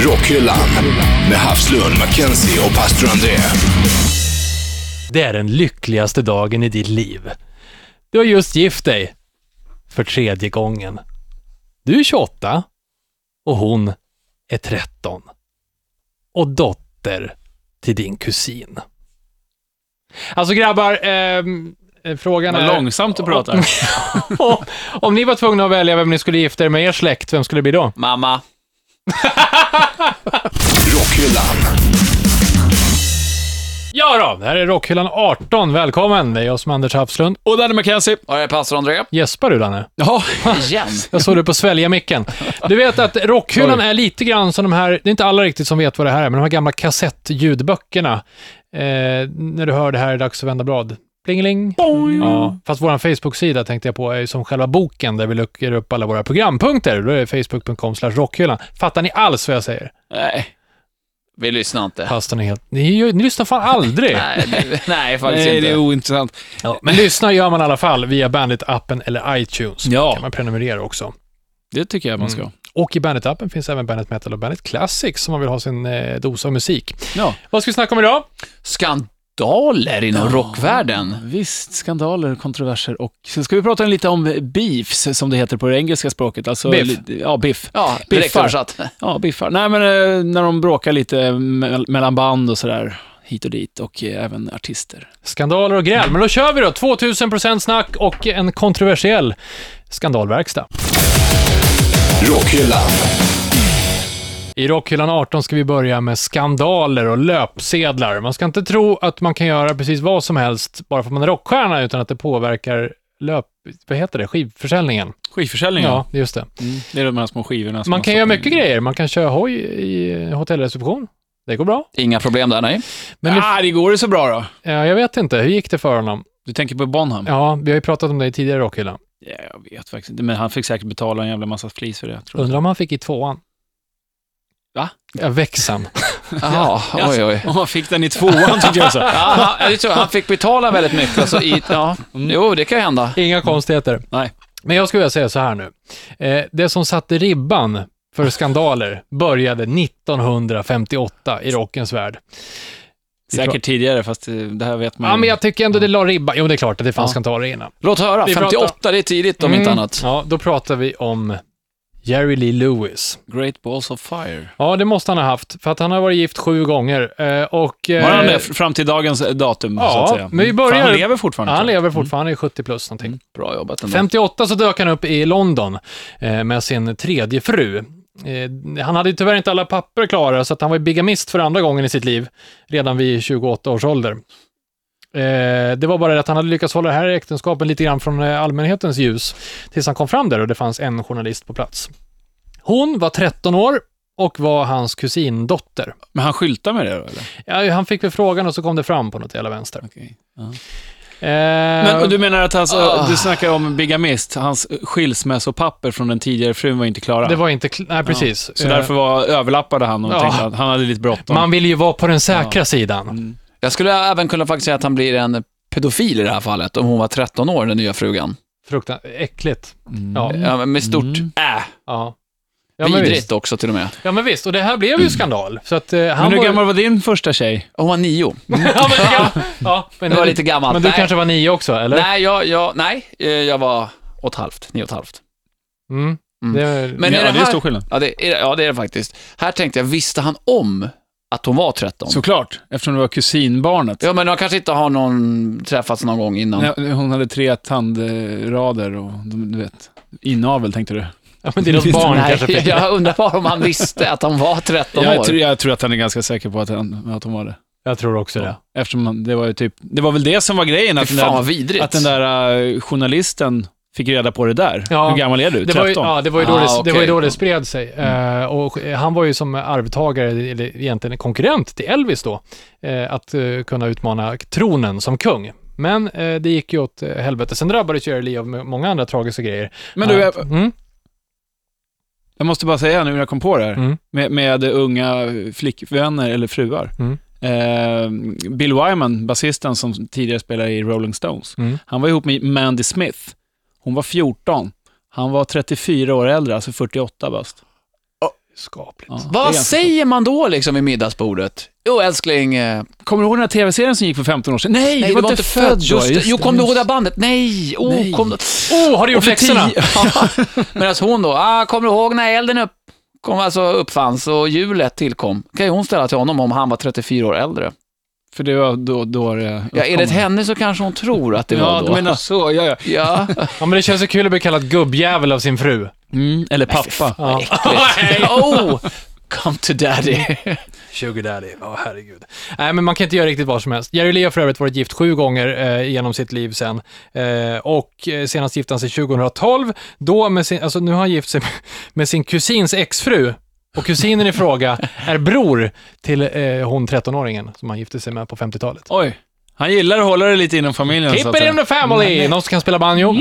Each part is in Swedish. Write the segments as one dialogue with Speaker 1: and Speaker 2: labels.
Speaker 1: Rockhyllan med Havslund, Mackenzie och pastor André.
Speaker 2: Det är den lyckligaste dagen i ditt liv. Du har just gift dig. För tredje gången. Du är 28 och hon är 13. Och dotter till din kusin. Alltså grabbar, ehm, eh, frågan
Speaker 3: Vad
Speaker 2: är...
Speaker 3: långsamt du pratar.
Speaker 2: om, om ni var tvungna att välja vem ni skulle gifta er med i er släkt, vem skulle det bli då?
Speaker 3: Mamma.
Speaker 1: Rockhyllan,
Speaker 2: Ja då, det här är Rockhyllan 18. Välkommen! Det är jag som är Anders Hafslund.
Speaker 3: Och Danny McKenzie. Och jag är pastor André.
Speaker 2: Gäspar du Danne?
Speaker 3: Ja, igen.
Speaker 2: Jag såg det på svälja-micken. Du vet att rockhyllan är lite grann som de här, det är inte alla riktigt som vet vad det här är, men de här gamla kassettljudböckerna. Eh, när du hör det här är det dags att vända blad. Plingeling. Ja, fast vår Facebook-sida tänkte jag på är ju som själva boken där vi luckar upp alla våra programpunkter. Då är det facebook.com slash rockhyllan. Fattar ni alls vad jag säger?
Speaker 3: Nej, vi lyssnar inte.
Speaker 2: Pastor, ni, är helt, ni, gör- ni lyssnar fan aldrig.
Speaker 3: Nej, det- nej faktiskt
Speaker 4: Nej, det är
Speaker 3: inte.
Speaker 4: ointressant.
Speaker 2: Ja, men lyssna gör man i alla fall via Bandit-appen eller iTunes.
Speaker 4: Ja.
Speaker 2: kan man prenumerera också.
Speaker 4: Det tycker jag man ska.
Speaker 2: Och i Bandit-appen finns även Bandit Metal och Bandit Classics som man vill ha sin eh, dos av musik.
Speaker 4: Ja.
Speaker 2: Vad ska vi snacka om idag?
Speaker 3: Skandaler inom rockvärlden.
Speaker 4: Visst, skandaler, kontroverser och sen ska vi prata lite om beefs, som det heter på det engelska språket. Alltså,
Speaker 2: Biff.
Speaker 4: li- Ja, biff.
Speaker 3: Ja,
Speaker 4: Biffar.
Speaker 3: direkt översatt.
Speaker 4: Ja, biffar. Nej, men eh, när de bråkar lite me- mellan band och sådär, hit och dit, och eh, även artister.
Speaker 2: Skandaler och gräl. Men då kör vi då! 2000% snack och en kontroversiell skandalverkstad.
Speaker 1: Rockhyllan,
Speaker 2: I Rockhyllan 18 ska vi börja med skandaler och löpsedlar. Man ska inte tro att man kan göra precis vad som helst bara för att man är rockstjärna utan att det påverkar löp... Vad heter det? Skivförsäljningen?
Speaker 4: Skivförsäljning, Mm.
Speaker 2: Ja, just det.
Speaker 4: Det är de här små skivorna. som
Speaker 2: Man kan
Speaker 4: stoppar
Speaker 2: göra
Speaker 4: in.
Speaker 2: mycket grejer. Man kan köra hoj i hotellreception. Det går bra.
Speaker 3: Inga problem där, nej.
Speaker 2: Men det,
Speaker 4: Ah, det går det så bra då.
Speaker 2: ja, jag vet inte, hur gick det för honom?
Speaker 4: Du tänker på Bonham?
Speaker 2: Ja, vi har ju pratat om det i tidigare Rockhyllan.
Speaker 4: Ja, jag vet faktiskt inte, men han fick säkert betala en jävla massa flis för det. Tror jag.
Speaker 2: Undrar om han fick i tvåan?
Speaker 4: Va?
Speaker 2: Ja, växeln.
Speaker 3: Jaha, oj, oj.
Speaker 4: Om han fick den i tvåan, tycker jag så.
Speaker 3: Ja, han, jag tror han fick betala väldigt mycket. Alltså, i, ja.
Speaker 4: Mm.
Speaker 3: Jo, det kan ju hända.
Speaker 2: Inga konstigheter.
Speaker 4: Nej.
Speaker 2: Men jag skulle vilja säga så här nu. Eh, det som satte ribban för skandaler började 1958 i rockens värld.
Speaker 4: Säkert tidigare, fast eh, det här vet man
Speaker 2: Ja,
Speaker 4: ju.
Speaker 2: men jag tycker ändå det la ribban. Jo, det är klart att det fanns
Speaker 4: Ja.
Speaker 2: skandaler innan.
Speaker 3: Låt höra,
Speaker 2: Vi pratar-
Speaker 3: 58, det är tidigt om
Speaker 4: Mm.
Speaker 3: inte annat.
Speaker 2: Ja, då pratar vi om Jerry Lee Lewis.
Speaker 4: Great Balls of Fire.
Speaker 2: Ja, det måste han ha haft, för att han har varit gift sju gånger. Eh, och, eh,
Speaker 4: Var han det f- fram till dagens eh, datum,
Speaker 2: ja,
Speaker 4: så att säga?
Speaker 2: men vi börjar-
Speaker 4: För han lever fortfarande.
Speaker 2: Ja, han
Speaker 4: tror jag.
Speaker 2: lever fortfarande, han är 70 plus
Speaker 4: Mm.
Speaker 2: någonting.
Speaker 3: Bra jobbat ändå.
Speaker 2: 58 så dök han upp i London eh, med sin tredje fru. Eh, han hade ju tyvärr inte alla papper klara, så att han var ju bigamist för andra gången i sitt liv, redan vid 28 års ålder. Eh, det var bara det att han hade lyckats hålla det här äktenskapen lite grann från eh, allmänhetens ljus, tills han kom fram där och det fanns en journalist på plats. Hon var 13 år och var hans kusindotter.
Speaker 4: Men han skyltar med det då, eller?
Speaker 2: Ja, han fick väl frågan och så kom det fram på något jävla vänster.
Speaker 4: Okej.
Speaker 2: Eh,
Speaker 4: Men och du menar att alltså,
Speaker 3: Ah.
Speaker 4: du snackar om bigamist, hans skilsmässopapper från den tidigare frun var inte klara.
Speaker 2: det var inte... Kl- nej, precis.
Speaker 4: Så
Speaker 2: Eh,
Speaker 4: därför var, överlappade han och
Speaker 2: Ja.
Speaker 4: tänkte att han hade lite bråttom.
Speaker 2: Man vill ju vara på den säkra sidan.
Speaker 3: Jag skulle även kunna faktiskt säga att han blir en pedofil i det här fallet, om hon var 13 år, den nya frugan.
Speaker 2: Fruktansvärt äckligt.
Speaker 4: Mm.
Speaker 2: Ja,
Speaker 3: Ja, men med stort
Speaker 4: Mm.
Speaker 3: äh,
Speaker 2: ja. Ja men,
Speaker 3: vidrigt
Speaker 2: visst.
Speaker 3: också till och med.
Speaker 2: ja men visst, och det här blev ju skandal. Så att, eh, han
Speaker 4: Mm. Men hur
Speaker 2: var...
Speaker 4: gammal var din första tjej?
Speaker 3: Hon var nio.
Speaker 2: ja, men, ja, ja, men,
Speaker 3: Det var lite gammalt.
Speaker 2: men du
Speaker 3: nej,
Speaker 2: kanske var nio också, eller?
Speaker 3: nej, jag, jag, nej, eh, jag var åt halvt, nio och ett halvt.
Speaker 2: Mm.
Speaker 3: Mm.
Speaker 2: Det,
Speaker 3: Men
Speaker 4: ja,
Speaker 3: är det
Speaker 4: är
Speaker 3: här-
Speaker 4: stor skillnad.
Speaker 3: Ja det, är, det- ja, det är det faktiskt. Här tänkte jag, visste han om att hon var 13?
Speaker 4: Såklart, eftersom det var kusinbarnet.
Speaker 3: Ja, men de kanske inte har någon träffats någon gång innan.
Speaker 4: Nej, Hon hade tre tandrader och de- du vet, inavel tänkte du.
Speaker 2: ja, men deras barn kanske
Speaker 3: nej,
Speaker 2: fick det.
Speaker 3: jag undrar bara om han visste att han var 13 år.
Speaker 4: Jag tror, jag tror att han är ganska säker på att, han, att hon var det.
Speaker 2: Jag tror också det.
Speaker 4: Ja. Eftersom han- det var ju typ, det var väl det som var grejen, att,
Speaker 3: Fy
Speaker 4: den
Speaker 3: fan vad
Speaker 4: där,
Speaker 3: vidrigt.
Speaker 4: att den där eh, journalisten fick reda på det där.
Speaker 2: Ja.
Speaker 4: Hur gammal är du?
Speaker 2: Det
Speaker 4: 13?
Speaker 2: var, ju, ja, det, var ju då
Speaker 3: Ah,
Speaker 2: det, det var ju
Speaker 3: okej. Mm.
Speaker 2: då det spred sig. Eh, och eh, han var ju som arvtagare, eller egentligen konkurrent till Elvis då, eh, att eh, kunna utmana tronen som kung. Men eh, det gick ju åt eh, helvete. Sen drabbades Jerry Lee av många andra tragiska grejer.
Speaker 4: Men du,
Speaker 2: Att-
Speaker 4: jag,
Speaker 2: mm?
Speaker 4: jag måste bara säga nu när jag kom på det här,
Speaker 2: Mm.
Speaker 4: med, med unga flickvänner eller fruar.
Speaker 2: Mm.
Speaker 4: Eh, Bill Wyman, basisten som tidigare spelade i Rolling Stones,
Speaker 2: Mm.
Speaker 4: han var ihop med Mandy Smith. Hon var 14. Han var 34 år äldre, alltså 48 bast.
Speaker 2: Skapligt.
Speaker 4: Ja, det är
Speaker 3: Vad
Speaker 4: ganska-
Speaker 3: säger man då liksom vid middagsbordet? Jo älskling, eh,
Speaker 4: Kommer du ihåg den här tv-serien som gick för 15 år sedan? Nej,
Speaker 3: nej
Speaker 4: du var, inte född, då.
Speaker 3: Just, det.
Speaker 4: Just
Speaker 3: jo,
Speaker 4: det,
Speaker 3: kom du
Speaker 4: just
Speaker 3: ihåg det
Speaker 4: det.
Speaker 3: här bandet? Nej, oh,
Speaker 4: Nej.
Speaker 3: kom du...
Speaker 2: Oh, har du gjort läxorna?
Speaker 3: Medan hon då, ah, kommer du ihåg när elden upp, kom, alltså uppfanns och hjulet tillkom? Kan ju hon ställa till honom om han var 34 år äldre.
Speaker 4: För det var då, då det
Speaker 3: Ja, enligt henne så kanske hon tror att det
Speaker 4: Ja,
Speaker 3: var
Speaker 4: du
Speaker 3: då.
Speaker 4: menar så. Ja, ja.
Speaker 3: Ja,
Speaker 2: Ja, men det känns så kul att bli kallad gubbjävel av sin fru.
Speaker 4: Mm, eller pappa.
Speaker 2: Ja.
Speaker 3: äckligt. oh, come to daddy.
Speaker 2: Sugar daddy, ja herregud. Nej, men man kan inte göra riktigt vad som helst. Jerry Lee har för övrigt varit gift sju gånger eh, genom sitt liv sen. Eh, och eh, senast gifte han sig 2012. Då med sin, alltså nu har han gift sig med, med sin kusins exfru. Och kusinen i fråga är bror till eh, hon 13-åringen som han gifte sig med på 50-talet.
Speaker 4: Oj. Han gillar att hålla det lite inom familjen. så
Speaker 2: Keep
Speaker 4: att
Speaker 2: it
Speaker 4: säga.
Speaker 2: in the family! Någon som kan spela banjo.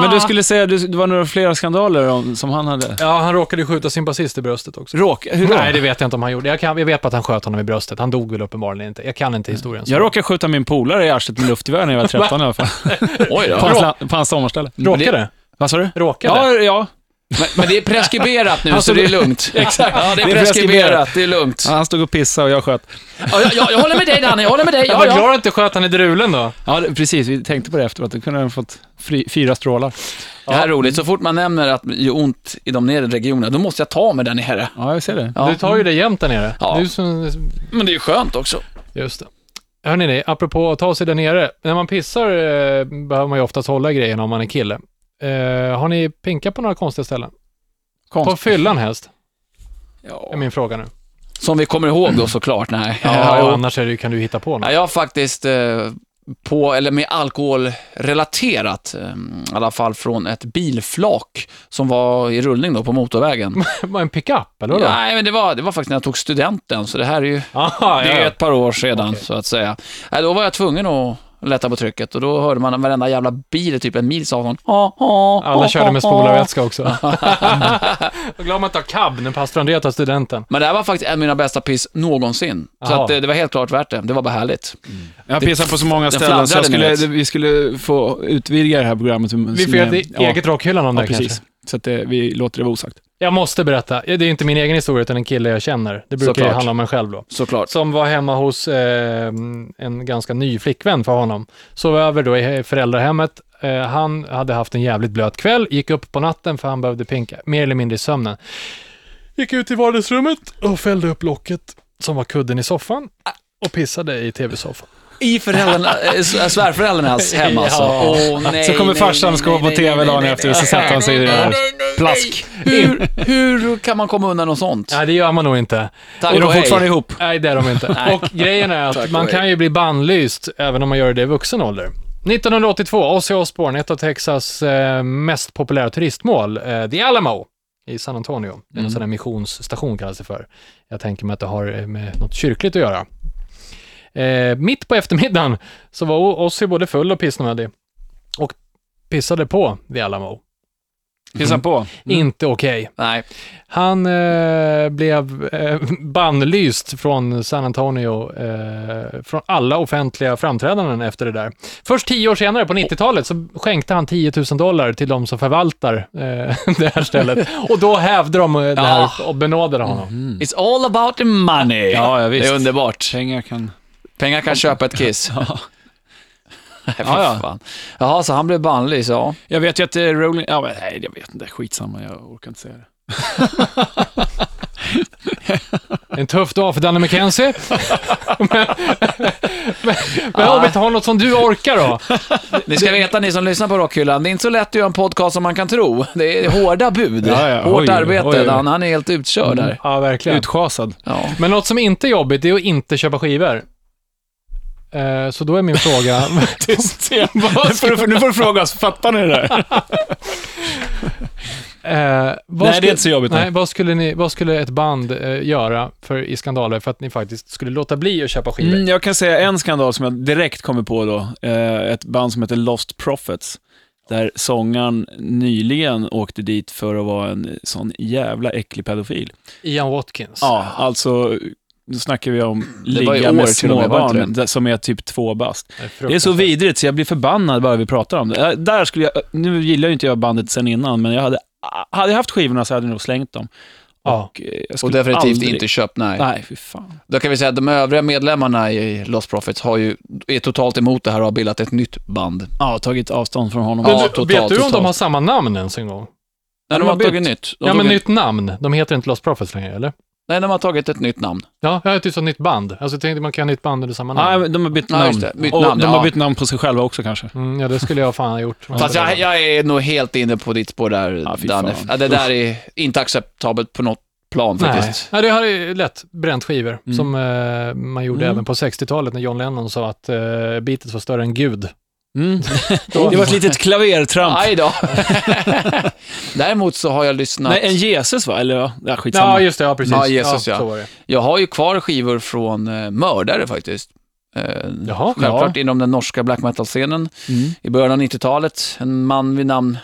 Speaker 4: Men du skulle säga att det var några flera skandaler om, som han hade?
Speaker 2: Ja, han råkade ju skjuta sin basist i bröstet också.
Speaker 4: Råk, hur då?
Speaker 2: Nej, det vet jag inte om han gjorde. Jag, kan, jag vet bara att han sköt honom i bröstet. Han dog väl uppenbarligen inte. Jag kan inte historien. så.
Speaker 4: Jag råkade skjuta min polare i arslet med luftgevär när jag var 13 i alla fall.
Speaker 3: Oj
Speaker 4: På
Speaker 3: då.
Speaker 4: hans, la- på hans sommarställe.
Speaker 2: Råkade?
Speaker 4: Vad sa du?
Speaker 2: Råkade?
Speaker 4: Ja, ja.
Speaker 3: Men, men det är preskriberat nu,
Speaker 4: Alltså,
Speaker 3: så det är lugnt. Exakt. Ja, det är
Speaker 4: Det är preskriberat.
Speaker 3: preskriberat, det är lugnt.
Speaker 4: Han stod och pissade och jag sköt.
Speaker 3: Ja, jag, jag, jag håller med dig Danne, jag håller med dig.
Speaker 2: Jag
Speaker 3: Ja,
Speaker 2: var
Speaker 3: ja.
Speaker 2: glad att inte sköt han i drulen då.
Speaker 4: Ja, det- precis. Vi tänkte på det efteråt. Du kunde ha fått fri, fyra strålar.
Speaker 3: Det här är roligt, så fort man nämner att det gör ont i de nedre regionerna, då måste jag ta mig där nere.
Speaker 4: Ja, jag ser det.
Speaker 3: Ja.
Speaker 2: Du tar ju det jämt där nere.
Speaker 3: Ja.
Speaker 2: Du som,
Speaker 3: Men det är ju skönt också.
Speaker 2: just det. Hörrni, ni, apropå att ta sig där nere. När man pissar eh, behöver man ju oftast hålla i grejerna om man är kille. Eh, har ni pinkat på några konstiga ställen? På
Speaker 4: Konst.
Speaker 2: fyllan helst, är
Speaker 3: Ja.
Speaker 2: min fråga nu.
Speaker 3: Som vi kommer ihåg då såklart, nej.
Speaker 2: Mm. Ja,
Speaker 3: jo.
Speaker 2: annars är det, ju- kan du hitta på något.
Speaker 3: Ja, jag har faktiskt eh, på, eller med alkoholrelaterat, eh, i alla fall från ett bilflak som var i rullning då på motorvägen.
Speaker 2: Var en pickup, eller vadå? Ja.
Speaker 3: nej, men det var, det var faktiskt när jag tog studenten, så det här är ju
Speaker 2: Aha,
Speaker 3: det är
Speaker 2: ja.
Speaker 3: ju ett par år sedan, så att säga. Nej, då var jag tvungen att lätta på trycket och då hörde man varenda jävla bil, typ en mils avstånd. Ah, ah, ah,
Speaker 2: Alla körde med
Speaker 3: ah,
Speaker 2: spolarvätska också. Vad glad man inte har cab när pastor André tar
Speaker 4: Mm,
Speaker 2: studenten.
Speaker 3: Men det här var faktiskt en av mina bästa piss någonsin. Så
Speaker 2: Jaha.
Speaker 3: att det, det var helt klart värt det. Det var bara härligt.
Speaker 4: Jag har pissat på så många ställen så jag
Speaker 3: fladdrade, ni
Speaker 4: skulle,
Speaker 3: vet.
Speaker 4: vi skulle få utvidga det här programmet.
Speaker 2: Vi får göra ett eget rockhyllan om
Speaker 4: Ja,
Speaker 2: det kanske.
Speaker 4: precis. Så att det, vi låter det vara osagt.
Speaker 2: Jag måste berätta. Det är ju inte min egen historia, utan en kille jag känner. Det brukar ju
Speaker 3: Såklart.
Speaker 2: handla om en själv då.
Speaker 3: Såklart.
Speaker 2: Som var hemma hos eh, en ganska ny flickvän för honom. Sov över då i föräldrahemmet. Eh, han hade haft en jävligt blöt kväll, gick upp på natten för han behövde pinka, mer eller mindre i sömnen. Gick ut i vardagsrummet och fällde upp locket som var kudden i soffan och pissade i tv-soffan.
Speaker 3: I föräldrarna, eh, svärföräldrarnas hem alltså.
Speaker 2: Ja.
Speaker 3: Åh, nej,
Speaker 4: Så kommer
Speaker 3: nej,
Speaker 4: farsan
Speaker 3: nej,
Speaker 4: och ska vara
Speaker 3: nej,
Speaker 4: på
Speaker 3: nej,
Speaker 4: tv
Speaker 3: nej,
Speaker 4: dagen
Speaker 3: nej,
Speaker 4: efter
Speaker 3: nej,
Speaker 4: så sätter han sig i
Speaker 3: nej,
Speaker 4: det
Speaker 3: nej,
Speaker 4: där.
Speaker 3: nej, nej.
Speaker 4: Plask.
Speaker 3: Hur, hur kan man komma undan något sånt?
Speaker 2: Nej, det gör man nog inte.
Speaker 3: Tack
Speaker 4: Är
Speaker 3: och
Speaker 4: de
Speaker 3: hej.
Speaker 4: fortfarande ihop?
Speaker 2: Nej, det är de inte. och grejen är
Speaker 3: Tack
Speaker 2: att
Speaker 3: och
Speaker 2: man
Speaker 3: hej.
Speaker 2: kan ju bli bannlyst även om man gör det i vuxen ålder. 1982, Ozzy Osbourne, ett av Texas eh, mest populära turistmål, eh, The Alamo i San Antonio. Det är
Speaker 3: Mm.
Speaker 2: En sån där missionsstation kallas det för. Jag tänker mig att det har eh, med något kyrkligt att göra. Eh, mitt på eftermiddagen så var O- Ozzy både full och pissnödig och pissade på The Alamo.
Speaker 4: Pissa på.
Speaker 3: Mm.
Speaker 2: Inte okej.
Speaker 3: Nej,
Speaker 2: Han eh, blev eh, bannlyst från San Antonio eh, från alla offentliga framträdanden efter det där. Först tio år senare, på 90-talet, så skänkte han 10 000 dollar till de som förvaltar eh, det här stället. Och då hävde de eh, det här och benådade honom.
Speaker 4: Mm.
Speaker 3: it's all about the money.
Speaker 4: Ja, ja, visst.
Speaker 3: Det är underbart.
Speaker 4: Pengar kan...
Speaker 3: Pengar kan köpa ett kiss. ja.
Speaker 4: Ja, ja.
Speaker 3: Fan. Jaha, så han blev bannlyst, ja.
Speaker 4: Jag vet ju att eh, Rolling... Ja, men, nej, jag vet inte. Skitsamma, jag orkar inte säga det.
Speaker 2: En tuff dag för Danny McKenzie. men men, men om vi inte har något som du orkar då?
Speaker 3: Ni ska veta, ni som lyssnar på Rockhyllan, det är inte så lätt att göra en podcast som man kan tro. Det är hårda bud,
Speaker 4: Ja, ja.
Speaker 3: hårt
Speaker 4: Oj,
Speaker 3: arbete.
Speaker 4: oj, Mm. oj.
Speaker 3: Han, han är helt utkörd där.
Speaker 2: Ja, verkligen.
Speaker 4: Utschasad.
Speaker 3: Ja.
Speaker 2: Men något som inte är jobbigt, det är att inte köpa skivor. Eh, så då är min fråga,
Speaker 4: Tyst. Nu får du- nu får du fråga oss, fattar ni det där?
Speaker 2: Eh, vad
Speaker 4: Nej, det
Speaker 2: skulle-
Speaker 4: är inte så jobbigt,
Speaker 2: Nej,
Speaker 4: nej.
Speaker 2: vad, skulle ni, vad skulle ett band eh, göra för, i skandaler för att ni faktiskt skulle låta bli att köpa skivor?
Speaker 4: Mm, jag kan säga en skandal som jag direkt kommer på då. Eh, ett band som heter Lost Prophets. Där sångaren nyligen åkte dit för att vara en sån jävla äcklig pedofil.
Speaker 2: Ian Watkins.
Speaker 4: Ja, alltså, nu snackar vi om
Speaker 3: Det var i
Speaker 4: ligga
Speaker 3: år
Speaker 4: med
Speaker 3: till och med, var det inte
Speaker 4: småbarn, där- som är typ två bast.
Speaker 2: är
Speaker 4: Det är så
Speaker 2: fruktansvärt.
Speaker 4: vidrigt så jag blir förbannad bara vi pratar om det. Eh, Där skulle jag, nu gillar ju inte jag bandet sen innan, men jag hade, hade jag haft skivorna så hade jag nog slängt dem.
Speaker 2: Ja.
Speaker 4: Och, eh, jag
Speaker 3: Och
Speaker 4: skulle
Speaker 3: definitivt
Speaker 4: aldrig-
Speaker 3: inte köpt, nej.
Speaker 4: Nej, fy fan.
Speaker 3: Då kan vi säga att de övriga medlemmarna i Lost Profits har ju, är totalt emot det här och har bildat ett nytt band.
Speaker 4: Ja, tagit avstånd från honom.
Speaker 3: Ja,
Speaker 2: Men du,
Speaker 3: totalt,
Speaker 2: vet du om
Speaker 3: totalt.
Speaker 2: de har samma namn ens en gång?
Speaker 3: Nej,
Speaker 4: de
Speaker 3: de har
Speaker 4: har
Speaker 3: tagit nytt. De
Speaker 2: ja,
Speaker 3: tog
Speaker 2: men
Speaker 3: ett-
Speaker 2: nytt namn. De heter inte Lost Prophets längre, eller?
Speaker 3: Nej, de har tagit ett nytt namn.
Speaker 2: Ja, jag tyckte så nytt band. Alltså, jag tänkte man kan ha nytt band under samma namn.
Speaker 4: Nej, men de har bytt
Speaker 3: Ja, just
Speaker 4: namn.
Speaker 3: det. Bytt
Speaker 4: och
Speaker 3: namn,
Speaker 4: de
Speaker 3: ja.
Speaker 4: har bytt namn på sig själva också kanske.
Speaker 2: Mm, ja, det skulle jag fan ha gjort.
Speaker 3: Fast jag, jag är nog helt inne på ditt spår där,
Speaker 4: Ja, fy
Speaker 3: Danne.
Speaker 4: fan.
Speaker 3: Ja, det där är inte acceptabelt på något plan
Speaker 2: Nej.
Speaker 3: faktiskt.
Speaker 2: Nej, det här är lätt bränt skivor
Speaker 4: Mm.
Speaker 2: som eh, man gjorde
Speaker 4: Mm.
Speaker 2: även på 60-talet när John Lennon sa att eh, Beatles var större än Gud.
Speaker 4: Mm. det var ett litet klavertramp.
Speaker 3: Aj då. Däremot så har jag lyssnat.
Speaker 4: Nej, en Jesus va? Eller ja, ja skitsamma.
Speaker 2: Ja, just det. Ja, precis.
Speaker 3: Ja, Jesus, ja.
Speaker 2: Så var det.
Speaker 3: Jag har ju kvar skivor från eh, mördare faktiskt. Eh,
Speaker 2: Jaha.
Speaker 3: Självklart inom den norska black metal-scenen
Speaker 4: Mm.
Speaker 3: i början av 90-talet. En man vid namn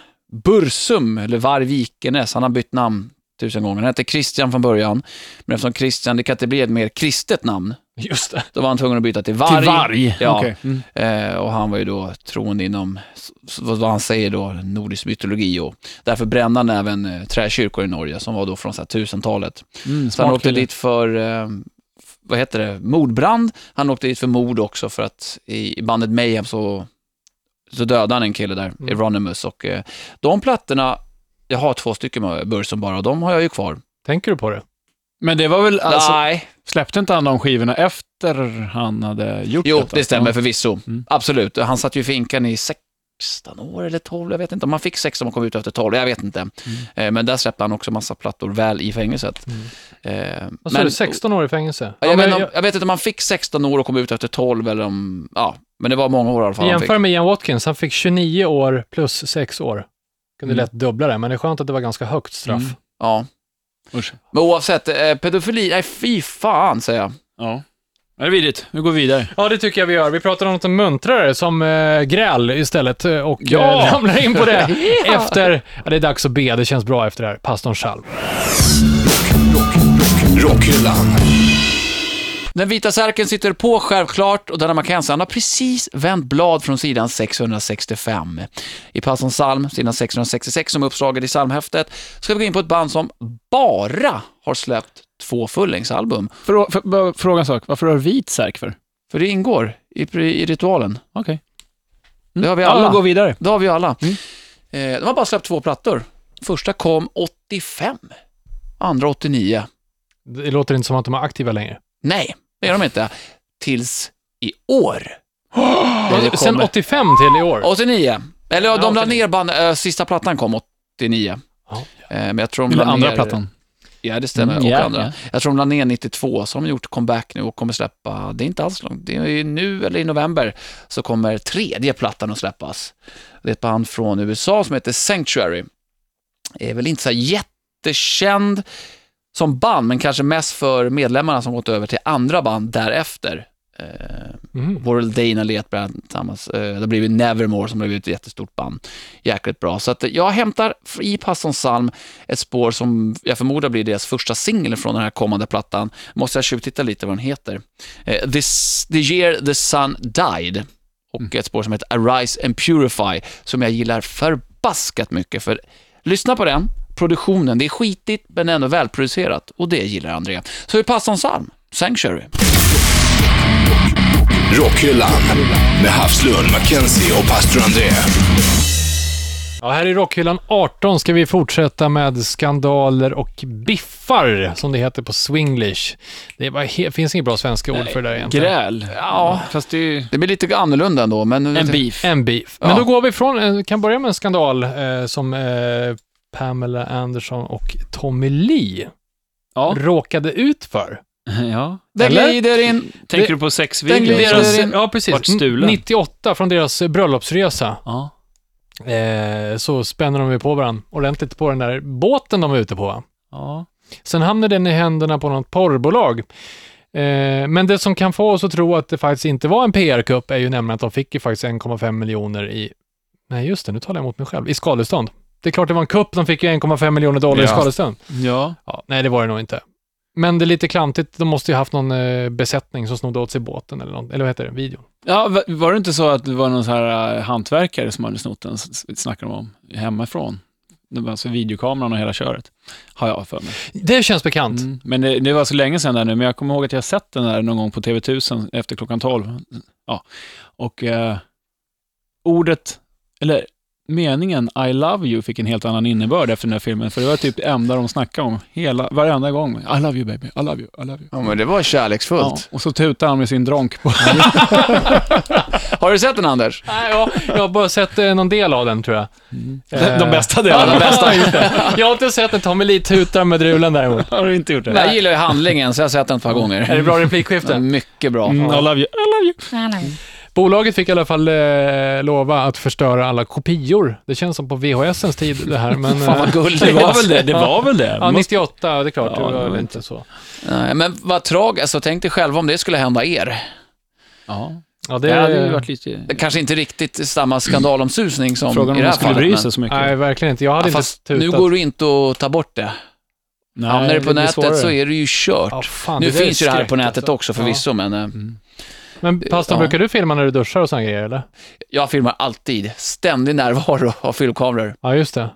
Speaker 3: Bursum, eller Varg Vikernes, han har bytt namn tusen gånger. Han hette Christian från början, men eftersom Christian, det kan inte bli ett mer kristet namn,
Speaker 2: Just det.
Speaker 3: då var han tvungen att byta till Varg.
Speaker 4: Till varg.
Speaker 3: Ja.
Speaker 4: Okej. Mm.
Speaker 3: Eh, och han var ju då troende inom, s- s- vad han säger då, nordisk mytologi och därför brände han även eh, träkyrkor i Norge som var då från så här, 1000-talet.
Speaker 4: Mm,
Speaker 3: Så han
Speaker 4: smart
Speaker 3: åkte
Speaker 4: kille.
Speaker 3: dit för, eh, f- vad heter det, mordbrand. Han åkte dit för mord också för att i i bandet Mayhem så, så dödade han en kille där,
Speaker 2: Mm.
Speaker 3: Euronymous. Och eh, de plattorna, jag har två stycken med Bursum bara och de har jag ju kvar.
Speaker 2: Tänker du på det?
Speaker 4: Men det var väl, alltså,
Speaker 3: Nej,
Speaker 4: släppte inte han de skivorna efter han hade gjort
Speaker 3: jo
Speaker 4: detta?
Speaker 3: det stämmer förvisso.
Speaker 4: Mm.
Speaker 3: Absolut, han satt ju i finkan i 16 år eller 12, jag vet inte. Om han fick 16 och kom ut efter 12, jag vet inte. Eh, Men där släppte han också massa plattor väl i fängelset.
Speaker 2: Mm.
Speaker 3: Eh,
Speaker 2: Vad sa
Speaker 3: men-
Speaker 2: du? 16 år i fängelse?
Speaker 3: Ja,
Speaker 2: men
Speaker 3: jag, vet, inte om- jag vet inte om han fick 16 år och kom ut efter 12 eller om, ja, men det var många år i alla fall han fick.
Speaker 2: Jämför med Ian Watkins, han fick 29 år plus 6 år. Kunde
Speaker 4: Mm.
Speaker 2: lätt dubbla det, men det är skönt att det var ganska högt straff.
Speaker 4: Mm.
Speaker 3: Ja.
Speaker 4: Usch.
Speaker 3: Men oavsett, eh, pedofili, nej fy fan säger jag.
Speaker 4: Ja. Ja, det är vidrigt. Vi går vidare.
Speaker 2: Ja, det tycker jag vi gör. Vi pratar om något muntrare som eh, gräl istället eh, och
Speaker 4: Ja!
Speaker 2: eh, ramlar in på det efter... Ja, det är dags att be, det känns bra efter det här. Pastorn Chalm.
Speaker 1: Rockhyllan.
Speaker 3: Den vita särken sitter på självklart och Danne McKenzie, han har precis vänt blad från sidan 665. I Passons psalm, sidan 666 som är uppslaget i psalmhäftet, ska vi gå in på ett band som bara har släppt två fullängdsalbum.
Speaker 4: Frå, för, bara fråga en sak. Varför har du vit särk för?
Speaker 3: För det ingår i, i ritualen.
Speaker 4: Okej. Mm.
Speaker 3: Det har vi
Speaker 4: Ja,
Speaker 3: alla.
Speaker 4: vi går vidare.
Speaker 3: Det har vi ju alla.
Speaker 4: Mm.
Speaker 3: Eh, de har bara släppt två plattor. Första kom 85, andra 89.
Speaker 2: Det låter inte som att de är aktiva längre.
Speaker 3: Nej, det är de inte. Tills i år. När det
Speaker 2: Sen
Speaker 3: kommer-
Speaker 2: 85 till i år.
Speaker 3: 89. Eller ja,
Speaker 2: Ja,
Speaker 3: de la
Speaker 2: 89.
Speaker 3: ner band, äh, sista plattan kom 89.
Speaker 2: Ja.
Speaker 3: Eh, men jag tror de
Speaker 4: Eller
Speaker 3: la
Speaker 4: andra
Speaker 3: ner,
Speaker 4: plattan.
Speaker 3: Ja, det stämmer.
Speaker 4: Mm,
Speaker 3: och
Speaker 4: ja,
Speaker 3: andra.
Speaker 4: ja.
Speaker 3: Jag tror de la ner 92, så har de gjort comeback nu och kommer släppa, det är inte alls långt, det är ju nu eller i november, så kommer tredje plattan att släppas. Det är ett band från USA som heter Sanctuary. Är väl inte så här jättekänd som band, men kanske mest för medlemmarna som gått över till andra band därefter. Eh,
Speaker 2: Mm.
Speaker 3: Warrell Dane har lett bland annat tillsammans. Eh, Det har blivit Nevermore som har blivit ett jättestort band. Jäkligt bra. Så att eh, jag hämtar f- i Passons psalm ett spår som jag förmodar blir deras första singel från den här kommande plattan. Måste jag tjuvtitta lite vad den heter. Eh, This, the year the sun died. Och ett spår som heter Arise and Purify, som jag gillar förbaskat mycket. För lyssna på den, produktionen, det är skitigt men ändå välproducerat. Och det gillar André. Så i Passons psalm, Sanctuary.
Speaker 1: Rockhyllan. Med Havslund, Mackenzie och pastor André.
Speaker 2: Ja, här i Rockhyllan 18 ska vi fortsätta med skandaler och biffar, som det heter på swinglish. Det är bara he- finns inget bra svenska ord för det där egentligen.
Speaker 4: Gräl.
Speaker 3: Ja,
Speaker 4: Fast det är ju
Speaker 3: Det blir lite annorlunda ändå, men...
Speaker 4: en beef.
Speaker 2: En beef. Men
Speaker 3: Ja.
Speaker 2: då går vi från, eh, kan börja med en skandal eh, som eh, Pamela Anderson och Tommy Lee
Speaker 4: Ja.
Speaker 2: råkade ut för.
Speaker 4: ja.
Speaker 3: Den
Speaker 2: Eller?
Speaker 3: glider in.
Speaker 4: Tänker du på sexvideon?
Speaker 3: glider in.
Speaker 2: Deras,
Speaker 4: Deras...
Speaker 3: den-
Speaker 2: ja,
Speaker 4: vart
Speaker 2: precis.
Speaker 4: stulen.
Speaker 2: 98 från deras eh, bröllopsresa
Speaker 4: Ja.
Speaker 2: eh, så spänner de ju på varandra ordentligt på den där båten de är ute på.
Speaker 4: ja.
Speaker 2: Sen hamnar den i händerna på något porrbolag. Eh, Men det som kan få oss att tro att det faktiskt inte var en PR-kupp är ju nämligen att de fick ju faktiskt 1,5 miljoner i... Nej, just det, nu talar jag emot mig själv. I skadestånd. Det är klart det var en kupp, de fick ju 1,5 miljoner dollar i
Speaker 3: Ja.
Speaker 2: skadestånd.
Speaker 4: Ja.
Speaker 2: Ja, nej, det var det nog inte. Men det är lite klantigt, de måste ju haft någon eh, besättning som snodde åt sig båten eller något, eller vad heter det, videon.
Speaker 4: Ja, va- var äh, det inte så att det var någon så här eh, hantverkare som hade snott den, s- s- snackar de om, hemifrån? Alltså videokameran och hela köret, har jag för mig.
Speaker 2: Det känns bekant.
Speaker 4: Mm. Men det, det var så länge sedan där nu, men jag kommer ihåg att jag sett den där någon gång på TV1000 efter klockan 12. Ja. Och eh, ordet, eller meningen I love you fick en helt annan innebörd efter den här filmen, för det var typ det enda de snackade om, hela, varenda gång. I love you baby, I love you, I love you.
Speaker 3: Ja, men det var
Speaker 4: Ja,
Speaker 3: kärleksfullt.
Speaker 4: och så tutade han med sin dronk på...
Speaker 3: Har du sett den, Anders?
Speaker 2: Nej, ja, jag har bara sett eh, någon del av den tror jag.
Speaker 4: Eh,
Speaker 2: Mm. De bästa delarna. de bästa, Jag har inte sett den, ta mig lite tutar med drulen däremot.
Speaker 4: Har du inte gjort det?
Speaker 3: Jag gillar ju handlingen, så jag har sett den ett par
Speaker 2: Är det
Speaker 3: gånger.
Speaker 2: bra replikskifte?
Speaker 3: Mycket bra.
Speaker 4: Mm, I love you, I love you.
Speaker 2: Bolaget fick i alla fall eh, lova att förstöra alla kopior. Det känns som på VHSens tid det här, men...
Speaker 3: Fan vad
Speaker 2: eh,
Speaker 3: gulligt.
Speaker 4: Det var väl det, det var väl det.
Speaker 2: Ja,
Speaker 4: Måste-
Speaker 2: 98, det är klart.
Speaker 4: Ja,
Speaker 2: det var
Speaker 4: det var
Speaker 2: väl
Speaker 4: inte-
Speaker 2: inte så.
Speaker 3: Nej, Men vad tragiskt, alltså, tänk dig själva om det skulle hända er.
Speaker 4: Ja.
Speaker 2: Ja,
Speaker 4: Det
Speaker 2: det...
Speaker 4: hade ju varit lite...
Speaker 3: Det kanske inte riktigt samma skandalomsusning som
Speaker 4: Frågan
Speaker 3: i
Speaker 4: om
Speaker 3: det
Speaker 4: de
Speaker 3: här
Speaker 4: skulle
Speaker 3: fallet.
Speaker 4: bry
Speaker 3: men-
Speaker 4: sig så mycket.
Speaker 2: Nej, verkligen inte. Jag hade
Speaker 3: Ja,
Speaker 2: inte
Speaker 3: fast
Speaker 2: tutat.
Speaker 3: nu går det inte att ta bort det.
Speaker 4: Nej,
Speaker 3: Hamnar det på
Speaker 4: blir
Speaker 3: nätet
Speaker 4: svårare.
Speaker 3: så är det ju kört.
Speaker 2: Ja, fan,
Speaker 3: nu
Speaker 2: där är
Speaker 3: finns ju det här på
Speaker 2: skräck,
Speaker 3: nätet
Speaker 2: alltså.
Speaker 3: också
Speaker 2: Ja.
Speaker 3: förvisso, men eh,
Speaker 2: Men pastorn,
Speaker 3: Ja.
Speaker 2: brukar du filma när du duschar och såna grejer, eller?
Speaker 3: jag filmar alltid. Ständig närvaro av filmkameror.
Speaker 2: Ja, just det.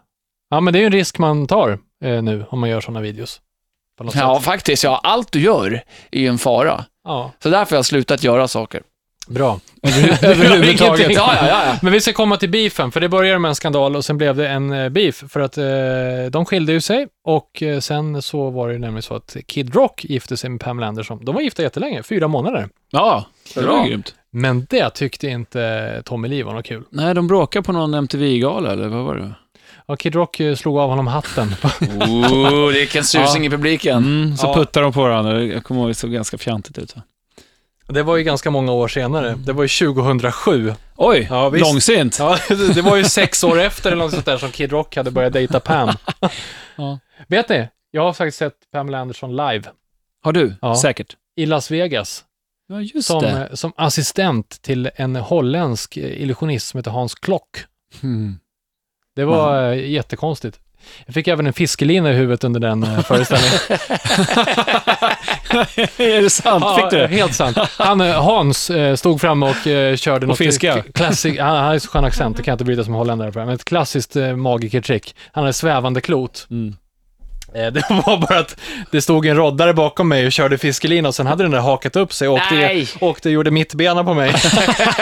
Speaker 2: Ja, men det är ju en risk man tar eh, nu om man gör sådana videos. På något
Speaker 3: Ja,
Speaker 2: sätt.
Speaker 3: faktiskt. Ja, allt du gör är ju en fara.
Speaker 2: ja,
Speaker 3: Så därför har jag slutat göra saker.
Speaker 2: bra.
Speaker 3: Ja,
Speaker 2: Överhuvudtaget.
Speaker 3: ja, ja.
Speaker 2: Men vi ska komma till beefen, för det började med en skandal och sen blev det en eh, beef, för att eh, de skilde ju sig och eh, sen så var det ju nämligen så att Kid Rock gifte sig med Pamela Anderson. De var gifta jättelänge, fyra månader.
Speaker 4: Ja, det
Speaker 3: Bra.
Speaker 4: var grymt.
Speaker 2: Men det tyckte inte Tommy Lee var något kul.
Speaker 4: Nej, de bråkade på någon MTV-gala, eller vad var det?
Speaker 2: Ja, Kid Rock eh, slog av honom hatten.
Speaker 3: ja. Oh, det är en susing i publiken.
Speaker 4: Mm, så
Speaker 2: Ja.
Speaker 4: puttade de på varandra. Jag kommer ihåg, det såg ganska fjantigt ut. Va?
Speaker 2: Det var ju ganska många år senare. Det var ju 2007.
Speaker 4: Oj,
Speaker 2: Ja, visst.
Speaker 4: långsint.
Speaker 2: Ja, det var ju sex år efter eller något sånt där som Kid Rock hade börjat dejta Pam.
Speaker 4: Ja.
Speaker 2: Vet ni? Jag har faktiskt sett Pamela Anderson live
Speaker 4: Har du?
Speaker 2: Ja.
Speaker 4: Säkert.
Speaker 2: i Las Vegas
Speaker 4: Ja, just
Speaker 2: som,
Speaker 4: det.
Speaker 2: eh, som assistent till en holländsk eh, illusionist som heter Hans Klock.
Speaker 4: Mm.
Speaker 2: Det var eh, jättekonstigt. Jag fick även en fiskelina i huvudet under den eh, föreställningen.
Speaker 4: är det sant? Fick du
Speaker 2: Ja,
Speaker 4: det?
Speaker 2: helt sant. Han, eh, Hans eh, stod fram och eh, körde något
Speaker 4: fiska.
Speaker 2: k- Klassik, han, han har så skön accent, det kan jag inte bryta som holländare för, men ett klassiskt eh, magikertrick. Han hade svävande klot.
Speaker 4: Mm.
Speaker 2: Eh, Det var bara att det stod en roddare bakom mig och körde fiskelina och sen hade den där hakat upp sig och åkte,
Speaker 3: Nej.
Speaker 2: åkte och gjorde mittbena på mig.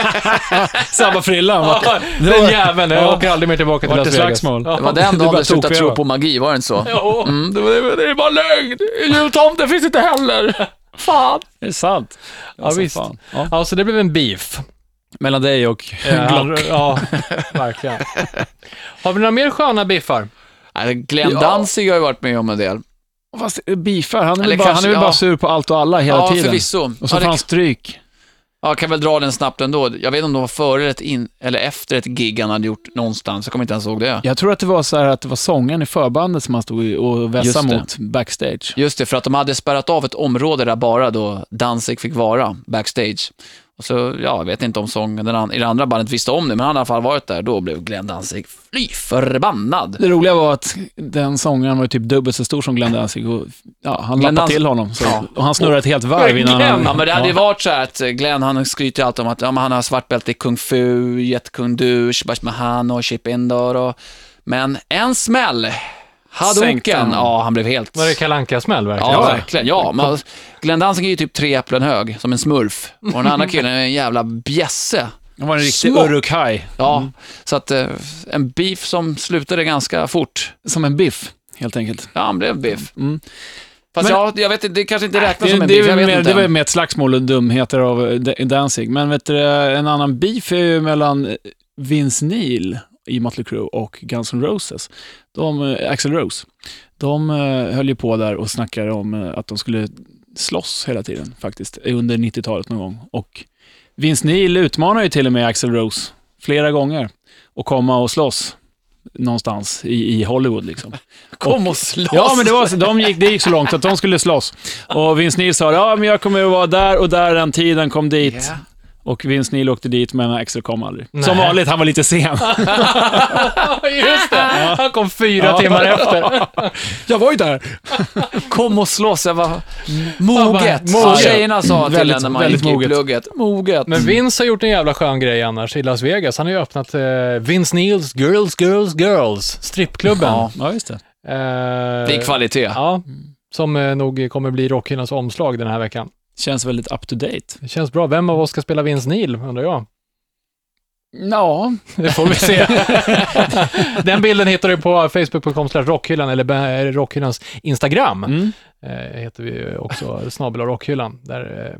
Speaker 4: Samma frilla. va?
Speaker 2: den jäveln, jag
Speaker 4: Ja.
Speaker 2: åker aldrig mer tillbaka till
Speaker 4: Vart
Speaker 2: Las
Speaker 4: det
Speaker 2: Vegas.
Speaker 4: slagsmål?
Speaker 2: Ja.
Speaker 3: Det var den
Speaker 4: Det
Speaker 3: dagen
Speaker 4: bara
Speaker 3: du slutade
Speaker 4: tokfel,
Speaker 3: tro
Speaker 4: va?
Speaker 3: på magi, var det inte så?
Speaker 2: Jo.
Speaker 3: Mm, det, var- det är bara lögn! Jultomten finns inte heller! Fan!
Speaker 4: Är det sant?
Speaker 2: Ja, visst.
Speaker 4: Fan. Ja.
Speaker 2: Ja, så det blev en beef.
Speaker 4: Mellan dig och
Speaker 2: Eh,
Speaker 4: Glock.
Speaker 2: han- Ja, verkligen. Har vi några mer sköna biffar?
Speaker 3: Nej, Glenn
Speaker 4: Ja.
Speaker 3: Danzig har ju varit med om en del.
Speaker 4: Fast eh, beefar, han är
Speaker 3: Eller
Speaker 4: väl bara, han
Speaker 3: kanske-
Speaker 4: är väl
Speaker 3: ja.
Speaker 4: bara sur på allt och alla hela
Speaker 3: ja,
Speaker 4: tiden.
Speaker 3: förvisso.
Speaker 4: Och så
Speaker 3: ja,
Speaker 4: får
Speaker 3: det,
Speaker 4: han stryk.
Speaker 3: ja, kan väl dra den snabbt ändå. Jag vet inte om de var före ett in, eller efter ett gig han hade gjort någonstans. Jag kommer inte ens ihåg det.
Speaker 4: Jag tror att det var så här att det var sången i förbandet som han stod och vässade
Speaker 3: Just det.
Speaker 4: mot backstage.
Speaker 3: Just det, för att de hade spärrat av ett område där bara då Danzig fick vara, backstage. Och så, ja, jag vet inte om sången den an- i det andra bandet visste om det, men han hade i alla fall varit där. Då blev Glenn Danzig fly förbannad.
Speaker 4: Det roliga var att den sångaren var ju typ dubbelt så stor som Glenn Danzig och ja, han
Speaker 3: Glenn
Speaker 4: lappade
Speaker 3: Danzig-
Speaker 4: till honom. Så,
Speaker 3: Ja.
Speaker 4: Och han snurrade ett helt varv innan han...
Speaker 3: Ja, men det hade ju varit så här att Glenn, han skryter ju alltid om att ja, men han har svart bälte i kung fu, jättekung du, shibash mahan och chip indor och... Men en smäll!
Speaker 4: Sänkte
Speaker 3: Hadouken!
Speaker 4: han.
Speaker 3: Ja, han blev helt...
Speaker 2: Var det Kalle Anka-smäll verkligen?
Speaker 3: Ja, verkligen. Ja, man, Glenn Danzig är ju typ tre äpplen hög, som en smurf. Och den andra killen är en jävla bjässe.
Speaker 4: Han var en riktig
Speaker 3: Smock.
Speaker 4: Uruk-hai.
Speaker 3: Ja, så att eh, en beef som slutade ganska fort.
Speaker 4: Som en biff, helt enkelt.
Speaker 3: Ja, han blev biff.
Speaker 4: Mm.
Speaker 3: Fast
Speaker 4: Men-
Speaker 3: ja, jag vet inte, det kanske inte räknas
Speaker 4: Det,
Speaker 3: som
Speaker 4: det,
Speaker 3: en beef,
Speaker 4: är
Speaker 3: jag vet
Speaker 4: väl mer,
Speaker 3: inte.
Speaker 4: det var ju mer ett slagsmål och dumheter av eh, D- Danzig. Men vet du, eh, en annan beef är ju mellan eh, Vince Neil i Mötley Crüe och Guns N' Roses. De, eh, Axl Rose. De eh, höll ju på där och snackade om eh, att de skulle slåss hela tiden faktiskt, under 90-talet någon gång. Och Vince Neil utmanar ju till och med Axl Rose flera gånger och komma och slåss någonstans i, i Hollywood liksom.
Speaker 3: Kom och slåss!
Speaker 4: Ja, men det, var, så- de gick, det gick så långt att de skulle slåss. Och Vince Neil sa, ja men jag kommer att vara där och där den tiden, kom dit.
Speaker 3: Ja.
Speaker 4: Och Vince Neil åkte dit, men Axel kom aldrig.
Speaker 2: Nej.
Speaker 4: Som vanligt, han var lite sen.
Speaker 2: Just det, han kom fyra
Speaker 4: Ja.
Speaker 2: timmar efter.
Speaker 4: jag var ju där.
Speaker 3: Kom och slåss, jag var
Speaker 4: Mm.
Speaker 3: moget.
Speaker 2: Moget.
Speaker 3: Som tjejerna sa till
Speaker 4: Väldigt-
Speaker 3: en när man
Speaker 4: väldigt
Speaker 3: gick i
Speaker 4: moget.
Speaker 3: plugget. Moget.
Speaker 2: Men Vince har gjort en jävla skön grej annars i Las Vegas. Han har ju öppnat eh, Vince Neils Girls, Girls, Girls, strippklubben.
Speaker 3: Ja,
Speaker 4: Ja, just det.
Speaker 2: Eh,
Speaker 3: det är kvalitet.
Speaker 2: Ja, som eh, nog kommer bli rockhyllans omslag den här veckan.
Speaker 4: Känns väldigt up to date.
Speaker 2: Det känns bra. Vem av oss ska spela Vince Neil, undrar jag?
Speaker 4: Ja,
Speaker 2: Det får vi se. den bilden hittar du på facebook.com slash rockhyllan eller eh, rockhyllans Instagram.
Speaker 4: mm.
Speaker 2: Eh, heter vi ju också snabel rockhyllan. Där eh,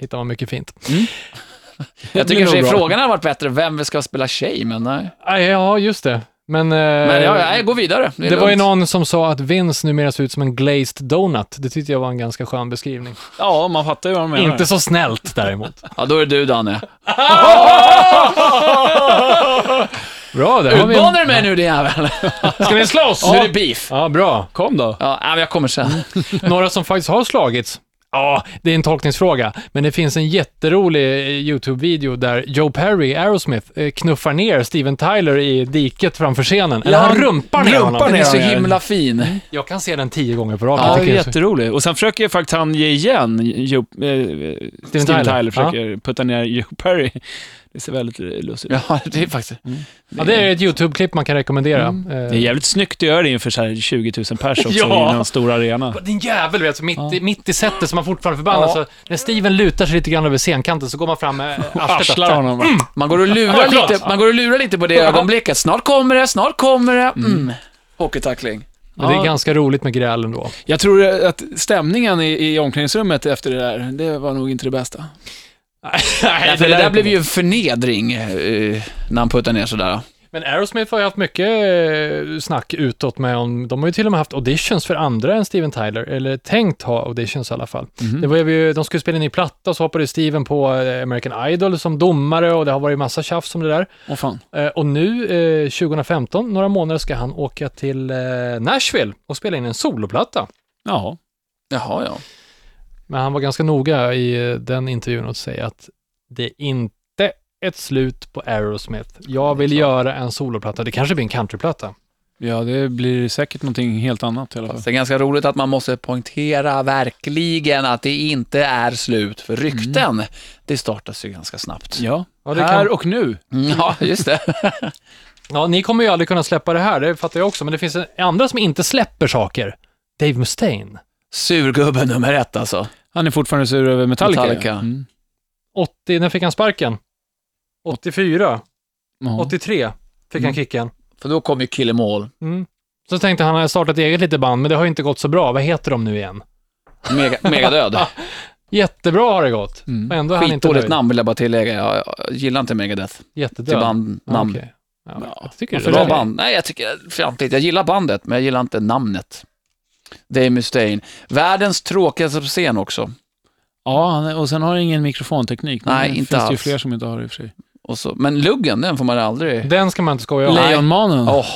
Speaker 2: hittar man mycket fint.
Speaker 3: Mm. Jag
Speaker 4: blir
Speaker 3: tycker
Speaker 4: nog
Speaker 3: kanske
Speaker 4: bra.
Speaker 3: frågan hade varit bättre, vem ska spela tjej, men nej.
Speaker 2: Ah, ja, just det. Men, eh,
Speaker 3: Men ja, nej, gå vidare. Det,
Speaker 2: det,
Speaker 3: är
Speaker 2: var ju
Speaker 3: lugnt.
Speaker 2: någon som sa att Vince numera ser ut som en glazed donut. Det tyckte jag var en ganska skön beskrivning.
Speaker 4: ja, man fattar ju vad de menar.
Speaker 2: Inte så snällt däremot.
Speaker 3: Ja, då är det du Danne.
Speaker 2: Bra, där har vi
Speaker 3: Utmanar
Speaker 2: en...
Speaker 3: du mig nu din jävel?
Speaker 2: Ska ni slåss?
Speaker 3: Nu är det beef.
Speaker 2: Ja, bra.
Speaker 4: Kom då.
Speaker 3: Ja, nej, men jag kommer sen.
Speaker 2: Några som faktiskt har slagits. Ja, det är en tolkningsfråga, men det finns en jätterolig eh, YouTube-video där Joe Perry, Aerosmith, eh, knuffar ner Steven Tyler i diket framför scenen. Eller
Speaker 4: Ja,
Speaker 2: han rumpar ner honom.
Speaker 4: rumpar
Speaker 3: Den är
Speaker 4: ner
Speaker 3: så
Speaker 4: honom, ja.
Speaker 3: himla fin.
Speaker 2: Jag kan se den tio gånger på raken.
Speaker 4: Ja,
Speaker 2: tycker jag.
Speaker 4: jätterolig. Och sen försöker faktiskt han ge igen. Joe, eh, Steven Tyler,
Speaker 2: Tyler
Speaker 4: försöker putta ner Joe Perry. Det ser väldigt lustigt ut.
Speaker 3: Ja, det är faktiskt...
Speaker 2: Ja, det är ett YouTube-klipp man kan rekommendera. Eh,
Speaker 4: Mm. Det är jävligt snyggt att göra det inför så här 20 000 pers också
Speaker 2: Ja.
Speaker 4: i en stor arena.
Speaker 2: Din jävel vet, mitt, i- mitt i setet som man fortfarande förbannas. Så när Steven lutar sig lite grann över scenkanten så går man fram med arslet.
Speaker 4: Arslar honom. Mm.
Speaker 3: Man går, och lurar
Speaker 2: klart.
Speaker 3: lite, man går och lurar lite på det ögonblicket. Snart kommer det, snart kommer det. Mm. Hockeytackling.
Speaker 2: Och Det är ganska roligt med gräl ändå.
Speaker 4: Jag tror att stämningen i, i omklädningsrummet efter det där, det var nog inte det bästa.
Speaker 3: Nej, för det där blev ju en förnedring eh, när han puttade ner sådär.
Speaker 2: Men Aerosmith har ju haft mycket eh, snack utåt med om, de har ju till och med haft auditions för andra än Steven Tyler, eller tänkt ha auditions i alla fall. Det var ju, de skulle spela en ny platta och så hoppade Steven på eh, American Idol som domare och det har varit massa tjafs om det där.
Speaker 4: Åh fan.
Speaker 2: Eh, Och nu, eh, 2015, några månader, ska han åka till eh, Nashville och spela in en soloplatta.
Speaker 4: Jaha.
Speaker 3: Jaha, ja.
Speaker 2: Men han var ganska noga i eh, den intervjun att säga att det är inte ett slut på Aerosmith. Jag vill göra en soloplatta. Det kanske blir en countryplatta.
Speaker 4: Ja, det blir säkert någonting helt annat i alla fall.
Speaker 3: Fast det är ganska roligt att man måste poängtera verkligen att det inte är slut, för rykten, det startas ju ganska snabbt.
Speaker 4: Ja,
Speaker 2: Ja, det
Speaker 4: här
Speaker 2: kan-
Speaker 4: och nu.
Speaker 3: Mm, Ja, just det.
Speaker 2: Ja, ni kommer ju aldrig kunna släppa det här, det fattar jag också, men det finns en- andra som inte släpper saker. Dave Mustaine.
Speaker 3: Surgubben nummer ett alltså.
Speaker 4: Han är fortfarande sur över Metallica.
Speaker 3: Metallica.
Speaker 4: Mm.
Speaker 2: 80, när fick han sparken? 84,
Speaker 4: Jaha.
Speaker 2: 83 fick
Speaker 4: Mm.
Speaker 2: han kicken.
Speaker 3: För då kom ju Kill 'Em All,
Speaker 2: Mm. Så tänkte han, han har startat eget litet band, men det har ju inte gått så bra. Vad heter de nu igen?
Speaker 3: mega, megadöd.
Speaker 2: Jättebra har det gått.
Speaker 4: Mm.
Speaker 2: Och ändå är han inte
Speaker 3: Skitdåligt
Speaker 2: nöjd.
Speaker 3: namn vill jag bara tillägga. Jag, jag gillar inte Megadeth till
Speaker 2: Jättedöd.
Speaker 3: band,
Speaker 2: Ja,
Speaker 3: namn.
Speaker 2: Ah, okej. Ja, jag tycker det
Speaker 4: varför
Speaker 2: är
Speaker 3: Bra
Speaker 4: Eller-
Speaker 3: band. Nej, jag tycker fjantigt. Jag gillar bandet, men jag gillar inte namnet. Dave Mustaine. Världens tråkigaste på scen också.
Speaker 4: Ja, han är- och sen har han ingen mikrofonteknik. men
Speaker 3: Nej,
Speaker 4: det
Speaker 3: inte
Speaker 4: finns ju
Speaker 3: alls.
Speaker 4: fler som inte har det i och för sig.
Speaker 3: Och så, men luggen, den får man aldrig...
Speaker 2: Den ska man inte skoja om.
Speaker 4: Lejonmannen.
Speaker 3: Åh,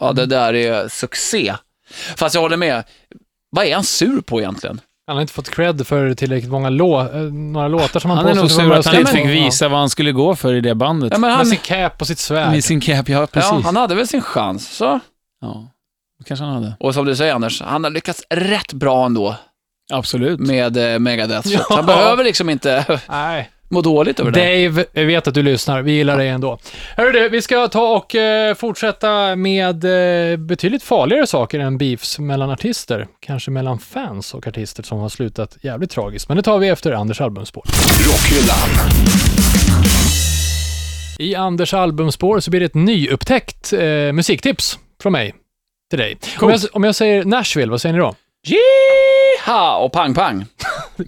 Speaker 3: ja, det där är succé. Fast jag håller med. Vad är han sur på egentligen?
Speaker 2: Han har inte fått cred för tillräckligt många lå- eh, några låtar som han
Speaker 4: Han är
Speaker 2: påstår
Speaker 4: nog
Speaker 2: sig
Speaker 4: sur
Speaker 2: vara
Speaker 4: att han inte
Speaker 2: skriven.
Speaker 4: fick visa vad han skulle gå för i det bandet.
Speaker 3: Ja, men
Speaker 2: Ja.
Speaker 3: han,
Speaker 2: Med sin cap och sitt svärd.
Speaker 4: Med sin cap, ja precis.
Speaker 3: ja, han hade väl sin chans. Så.
Speaker 4: Ja, kanske han hade.
Speaker 3: Och som du säger Anders, han har lyckats rätt bra ändå
Speaker 4: Absolut.
Speaker 3: med eh, Megadeth. Så
Speaker 2: Ja.
Speaker 3: Han behöver liksom inte
Speaker 2: Nej.
Speaker 3: må dåligt över det.
Speaker 2: Dave, jag vet att du lyssnar. Vi gillar dig ändå. Hörru du, vi ska ta och eh, fortsätta med eh, betydligt farligare saker än beefs mellan artister. Kanske mellan fans och artister som har slutat jävligt tragiskt. Men det tar vi efter Anders albumspår.
Speaker 1: Rockhyllan.
Speaker 2: I Anders albumspår så blir det ett nyupptäckt eh, musiktips från mig till dig. Om jag, om jag säger Nashville, vad säger ni då?
Speaker 3: Jiha och pang-pang.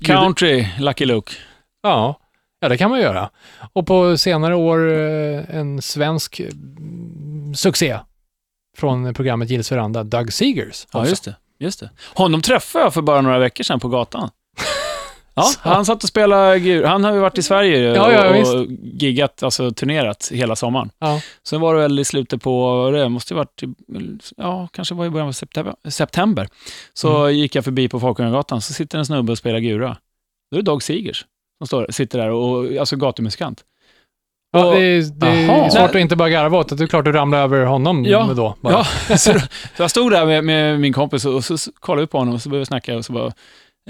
Speaker 4: Country, Lucky Luke.
Speaker 2: Ja, ja det kan man göra. Och på senare år eh, en svensk eh, succé från programmet Gills veranda, Doug Seegers.
Speaker 4: Ja,
Speaker 2: också.
Speaker 4: just det. just det. Honom träffade jag för bara några veckor sedan på gatan. Ja, han satt och spelade gur. Han har ju varit i Sverige
Speaker 2: Ja, ja,
Speaker 4: och giggat, alltså turnerat hela sommaren.
Speaker 2: Ja.
Speaker 4: Sen var det väl i slutet på, vad var det måste ju varit, i, ja, kanske var i början av september. september.
Speaker 2: Mm.
Speaker 4: Så gick jag förbi på Folkungagatan, så sitter en snubbe och spelar gura. Då är det Dag Sigers. som står, sitter där och, och alltså gatumusikant.
Speaker 2: Ja,
Speaker 4: Och-
Speaker 2: det är, det är
Speaker 4: Jaha.
Speaker 2: svårt att inte bara garva åt att det är klart du ramlade över honom
Speaker 4: Ja.
Speaker 2: då. Bara.
Speaker 4: Ja, så, så jag stod där med, med min kompis och så, så kollade vi på honom och så började vi snacka och så bara,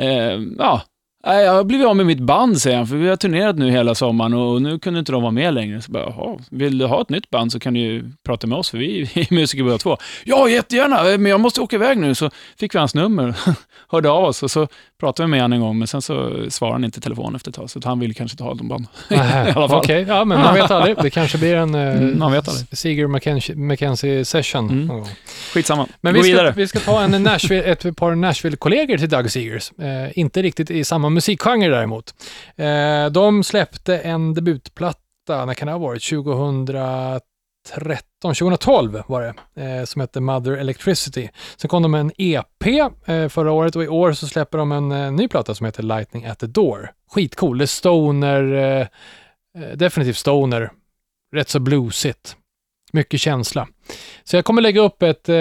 Speaker 4: eh, ja, nej, jag har blivit av med mitt band säger han, för vi har turnerat nu hela sommaren och nu kunde inte de vara med längre. Så bara, jaha, vill du ha ett nytt band så kan du ju prata med oss, för vi är musiker båda två. Ja, jättegärna, eh, men jag måste åka iväg nu. Så fick vi hans nummer, hörde av oss och så pratade vi med honom en gång, men sen så svarade han inte i telefon efter ett tag, så han ville kanske inte ha de band.
Speaker 2: Nej,
Speaker 4: alla fall. Ah.
Speaker 2: Okej, ja, men man vet aldrig. Det kanske blir en eh,
Speaker 4: Mm, man vet aldrig.
Speaker 2: Seeger McKenzie- McKenzie session
Speaker 4: Mm.
Speaker 2: någon gång.
Speaker 4: Skitsamma,
Speaker 2: Men
Speaker 4: gå
Speaker 2: vi ska,
Speaker 4: vidare.
Speaker 2: vi ska ta en Nashville, ett par Nashville-kollegor till Doug Seegers. Eh, inte riktigt i samma musikgenre däremot. Eh, de släppte en debutplatta, när kan det ha varit? 2013, 2012 var det, eh, som hette Mother Electricity. Sen kom de med en EP eh, förra året och i år så släpper de en eh, ny platta som heter Lightning at the Door. Skitcool, det är stoner, eh, eh, definitivt stoner, rätt så bluesigt, mycket känsla. Så jag kommer lägga upp ett eh,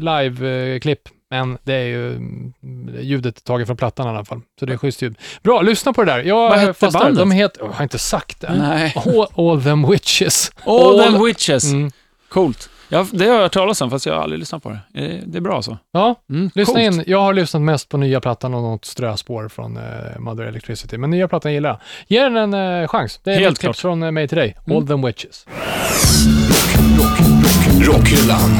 Speaker 2: live-klipp, men det är ju mm, ljudet taget från plattan i alla fall. Så det är schysst ljud. Bra, lyssna på det där. Jag
Speaker 4: Vad hette
Speaker 2: fattar,
Speaker 4: bandet?
Speaker 2: De heter, jag har inte sagt det.
Speaker 4: Nej.
Speaker 2: All, all them witches.
Speaker 4: All them witches.
Speaker 2: Mm.
Speaker 4: Coolt. Ja, det har jag hört talas om, fast jag har aldrig lyssnat på det. Eh, Det är bra så.
Speaker 2: Ja,
Speaker 4: Mm,
Speaker 2: lyssna
Speaker 4: coolt.
Speaker 2: in. Jag har lyssnat mest på nya plattan och något ströspår från eh, Mother Electricity, men nya plattan gillar jag. Ge den en eh, chans. Det är
Speaker 4: Helt
Speaker 2: ett tips
Speaker 4: klart. Mm.
Speaker 2: från eh, mig till dig. All them witches.
Speaker 1: Rockhyllan.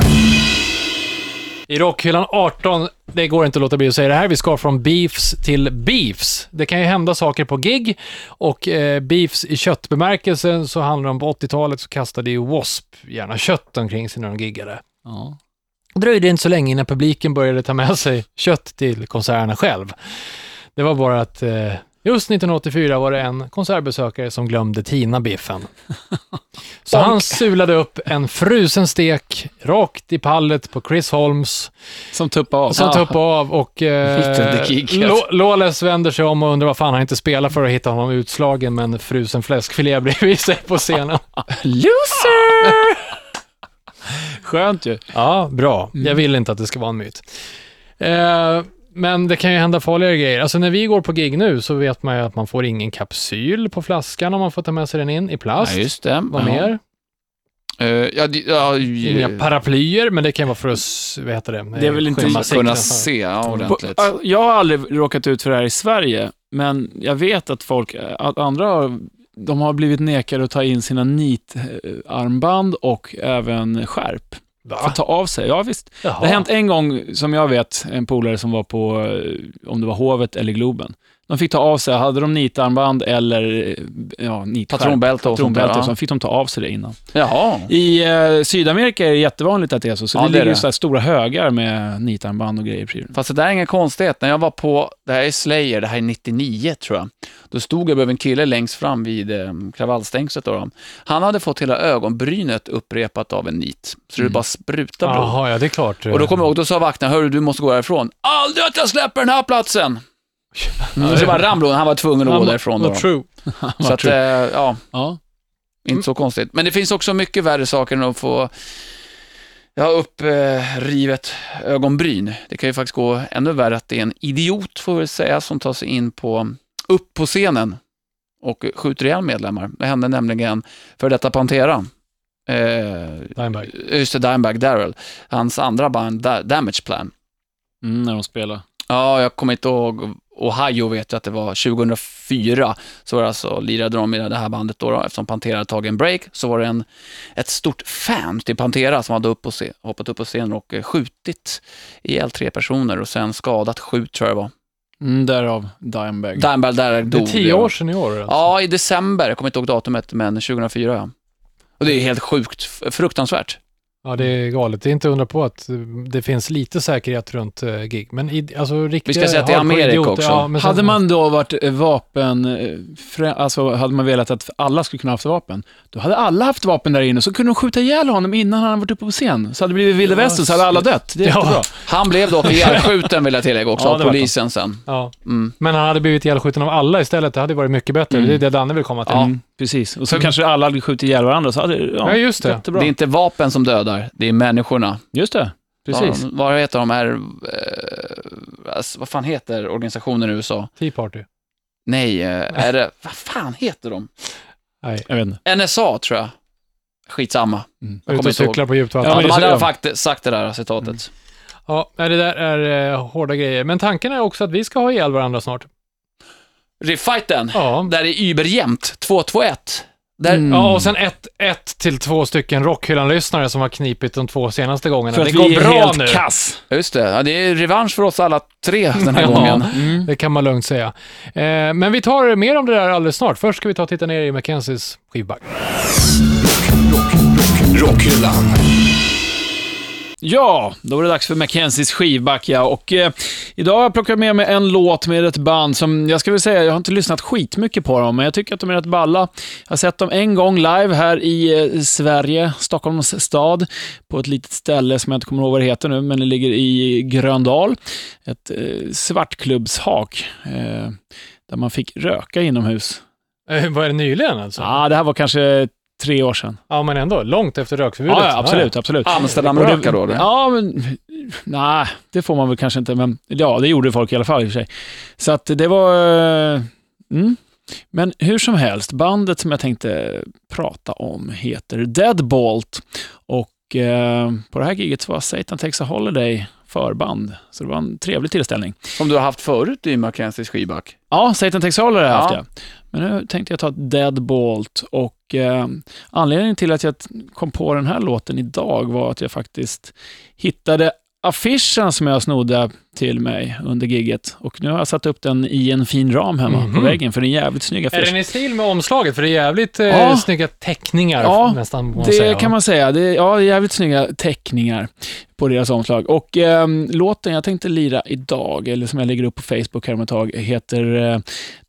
Speaker 2: I Rockhyllan 18, det går inte att låta bli att säga det här, vi ska från beefs till beefs. Det kan ju hända saker på gig och eh, beefs i köttbemärkelsen så handlar det om på 80-talet så kastade ju W.A.S.P. gärna kött omkring sig när de giggade.
Speaker 4: Ja.
Speaker 2: Och dröjde inte så länge innan publiken började ta med sig kött till konserterna själv. Det var bara att eh, just 1984 var det en konsertbesökare som glömde tina biffen. Så han sulade upp en frusen stek rakt i pallet på Chris Holmes
Speaker 4: Som tuppa av.
Speaker 2: som
Speaker 4: Ja.
Speaker 2: tuppade av och
Speaker 3: Mitt under
Speaker 2: eh,
Speaker 3: giget.
Speaker 2: Lo- Lawless vänder sig om och undrar vad fan han inte spelar för att hitta honom utslagen med en frusen fläskfilé bredvid sig på scenen.
Speaker 4: Loser! Skönt ju.
Speaker 2: Ja, bra. Mm. Jag vill inte att det ska vara en myt. Eh, men det kan ju hända farligare grejer. Alltså när vi går på gig nu så vet man ju att man får ingen kapsyl på flaskan om man får ta med sig den in i plast.
Speaker 3: Ja, just det.
Speaker 2: Vad
Speaker 3: Ja.
Speaker 2: mer?
Speaker 3: Eh, ja, det- ja, eh, ju-
Speaker 2: Inga paraplyer, men det kan ju vara för att, s- vad heter det?
Speaker 4: Det är väl inte-
Speaker 2: Skymma
Speaker 3: man ska kunna
Speaker 2: sikten.
Speaker 3: se ja, ordentligt.
Speaker 4: På- Jag har aldrig råkat ut för det här i Sverige, men jag vet att folk, att andra har, de har blivit nekade att ta in sina nitarmband och även skärp. För
Speaker 2: Va?
Speaker 4: att ta av sig. Ja, visst.
Speaker 2: Jaha.
Speaker 4: Det har hänt en gång, som jag vet, en polare som var på, eh, om det var Hovet eller Globen. De fick ta av sig, hade de nitarmband eller eh, ja, nitskärp,
Speaker 3: Patronbälte och sånt där.
Speaker 4: patronbälte och
Speaker 3: ja.
Speaker 4: så fick de ta av sig det innan.
Speaker 3: Jaha.
Speaker 4: I eh, Sydamerika är det jättevanligt att det är så, så
Speaker 3: Ja,
Speaker 4: det,
Speaker 3: det är
Speaker 4: ligger ju
Speaker 3: det.
Speaker 4: så här stora högar med nitarmband och grejer i prylen.
Speaker 3: Fast det där är ingen konstighet. När jag var på, det här är Slayer, det här är 99 tror jag. Då stod jag bredvid en kille längst fram vid eh, kravallstängslet. Då, då. Han hade fått hela ögonbrynet upprepat av en nit. Så
Speaker 4: Mm.
Speaker 3: det bara sprutade blod.
Speaker 2: Jaha, ja det är klart.
Speaker 3: Och då kommer jag ihåg, då sa vakten, hörru du måste gå härifrån. Aldrig att jag släpper den här platsen! Mm. Så bara ramlade hon, han var tvungen att gå därifrån. Då.
Speaker 2: Not true.
Speaker 3: Så att, eh, ja,
Speaker 4: Ja.
Speaker 3: inte så konstigt. Men det finns också mycket värre saker än att få ja, upprivet ögonbryn. Det kan ju faktiskt gå ännu värre att det är en idiot, får vi väl säga, som tar sig in på, upp på scenen och skjuter ihjäl medlemmar. Det hände nämligen för detta Pantera. Eh,
Speaker 2: Dimebag.
Speaker 3: just det, Dimebag Darrell. Hans andra band, da- Damage Plan.
Speaker 4: Mm, när de spelar.
Speaker 3: Ja, jag kommer inte ihåg. Ohio vet jag att det var 2004. Så var det alltså, lirade de i det här bandet då, då eftersom Pantera hade tagit en break. Så var det en, ett stort fan till Pantera som hade upp och se, hoppat upp på scenen och eh, skjutit ihjäl tre personer och sen skadat sju tror jag det var.
Speaker 4: Mm, därav Dimebag.
Speaker 3: Dimebag där
Speaker 2: Det
Speaker 3: dog.
Speaker 2: är tio år sedan i år. alltså.
Speaker 3: Ja, i december. Jag kommer inte ihåg datumet, men 2004 ja. Och det är helt sjukt, f- fruktansvärt.
Speaker 2: Ja, det är galet. Det är inte undra på att eh, det finns lite säkerhet runt eh, gig. Men i, alltså riktiga...
Speaker 3: säga att det är
Speaker 2: hardcore
Speaker 3: Amerika
Speaker 2: idioter,
Speaker 3: också.
Speaker 2: men sen-
Speaker 4: hade man då varit eh, vapen, eh, frä- alltså hade man velat att alla skulle kunna haft vapen, då hade alla haft vapen där inne, så kunde de skjuta ihjäl honom innan han hade varit uppe på scen. Så hade det blivit vilda
Speaker 2: Ja,
Speaker 4: västern, så hade alla dött. Det är
Speaker 2: Ja.
Speaker 4: jättebra.
Speaker 3: Han blev dock ihjälskjuten vill jag tillägga också,
Speaker 4: Ja,
Speaker 3: av
Speaker 4: det var det.
Speaker 3: polisen sen.
Speaker 2: Ja.
Speaker 3: Mm.
Speaker 2: Men han hade blivit ihjälskjuten av alla istället. Det hade varit mycket bättre. Det är det Danne vill komma till.
Speaker 3: Ja.
Speaker 4: Mm, precis. Och så kanske alla hade skjutit ihjäl varandra, så hade ja,
Speaker 2: Ja, just det.
Speaker 4: Jättebra.
Speaker 3: Det är inte vapen som dödar, det är människorna.
Speaker 4: Just det, precis.
Speaker 3: Ja, vad heter de här, eh, alltså, vad fan heter organisationen i USA?
Speaker 2: Tea party.
Speaker 3: Nej, eh, är det... Vad fan heter de?
Speaker 2: Nej.
Speaker 4: Jag vet inte. Mm.
Speaker 3: NSA, tror jag. Skitsamma. Jag
Speaker 2: Ut
Speaker 3: kommer
Speaker 2: och
Speaker 3: inte ihåg.
Speaker 2: cyklar på djupt
Speaker 4: Ja,
Speaker 3: Ja,
Speaker 2: vatten.
Speaker 3: de
Speaker 4: just
Speaker 3: hade i
Speaker 4: det. Mm.
Speaker 3: alla fall sagt det där citatet.
Speaker 2: Ja, nej, det där är eh, hårda grejer. Men tanken är också att vi ska ha ihjäl varandra snart.
Speaker 3: Refighten,
Speaker 2: Ja,
Speaker 3: där är überjämnt. 2-2-1. Där...
Speaker 4: Mm.
Speaker 2: ja och sen ett, ett till två stycken Rockhyllan-lyssnare som har knipit de två senaste gångerna.
Speaker 4: För att
Speaker 2: det går
Speaker 4: vi är
Speaker 2: bra
Speaker 4: helt
Speaker 2: nu.
Speaker 4: kass.
Speaker 3: Just det, ja, det är revansch för oss alla tre den här
Speaker 2: Ja.
Speaker 3: gången.
Speaker 4: Mm.
Speaker 2: Det kan man lugnt säga. Eh, men vi tar mer om det där alldeles snart. Först ska vi ta och titta ner i Mackenzies skivback.
Speaker 1: Rockhyllan.
Speaker 4: Ja, då var det dags för Mackenzies skivback ja. Och eh, idag har jag plockat med mig en låt med ett band som, jag ska väl säga, jag har inte lyssnat skitmycket på dem, men jag tycker att de är rätt balla. Jag har sett dem en gång live här i eh, Sverige, Stockholms stad, på ett litet ställe som jag inte kommer ihåg vad det heter nu, men det ligger i Gröndal. Ett eh, svartklubbshak, eh, där man fick röka inomhus.
Speaker 2: Eh, var det nyligen alltså? Ja,
Speaker 4: Ja, ah, det här var kanske tre år sedan.
Speaker 2: men ändå. Långt efter rökförbudet.
Speaker 4: Ja, ja, Ah, absolut, absolut.
Speaker 3: Amsterdamröka då? eller?
Speaker 4: Ja, men nej, det får man väl kanske inte, men ja, det gjorde folk i alla fall i och för sig. Så att det var... eh, Mm. Men hur som helst, bandet som jag tänkte prata om heter Deadbolt och eh, på det här giget så var Satan Takes a Holiday förband, så det var en trevlig tillställning.
Speaker 3: Som du har haft förut i Mackenzies skivback.
Speaker 4: Ja, Satan Takes a Holiday har jag haft
Speaker 3: Ja.
Speaker 4: jag. Men nu tänkte jag ta Deadbolt och eh, anledningen till att jag t- kom på den här låten idag var att jag faktiskt hittade affischen som jag snodde till mig under gigget och nu har jag satt upp den i en fin ram hemma på
Speaker 2: Mhm.
Speaker 4: väggen för det är en jävligt snygg
Speaker 2: Är
Speaker 4: affisch.
Speaker 2: den i stil med omslaget? För det är jävligt eh,
Speaker 4: Ja.
Speaker 2: snygga teckningar
Speaker 4: Ja,
Speaker 2: nästan. Må man
Speaker 4: Det
Speaker 2: säga, va?
Speaker 4: kan man säga. Det är, ja, det är jävligt snygga teckningar på deras omslag. Och ehm, låten jag tänkte lira idag, eller som jag lägger upp på Facebook här om ett tag, heter eh,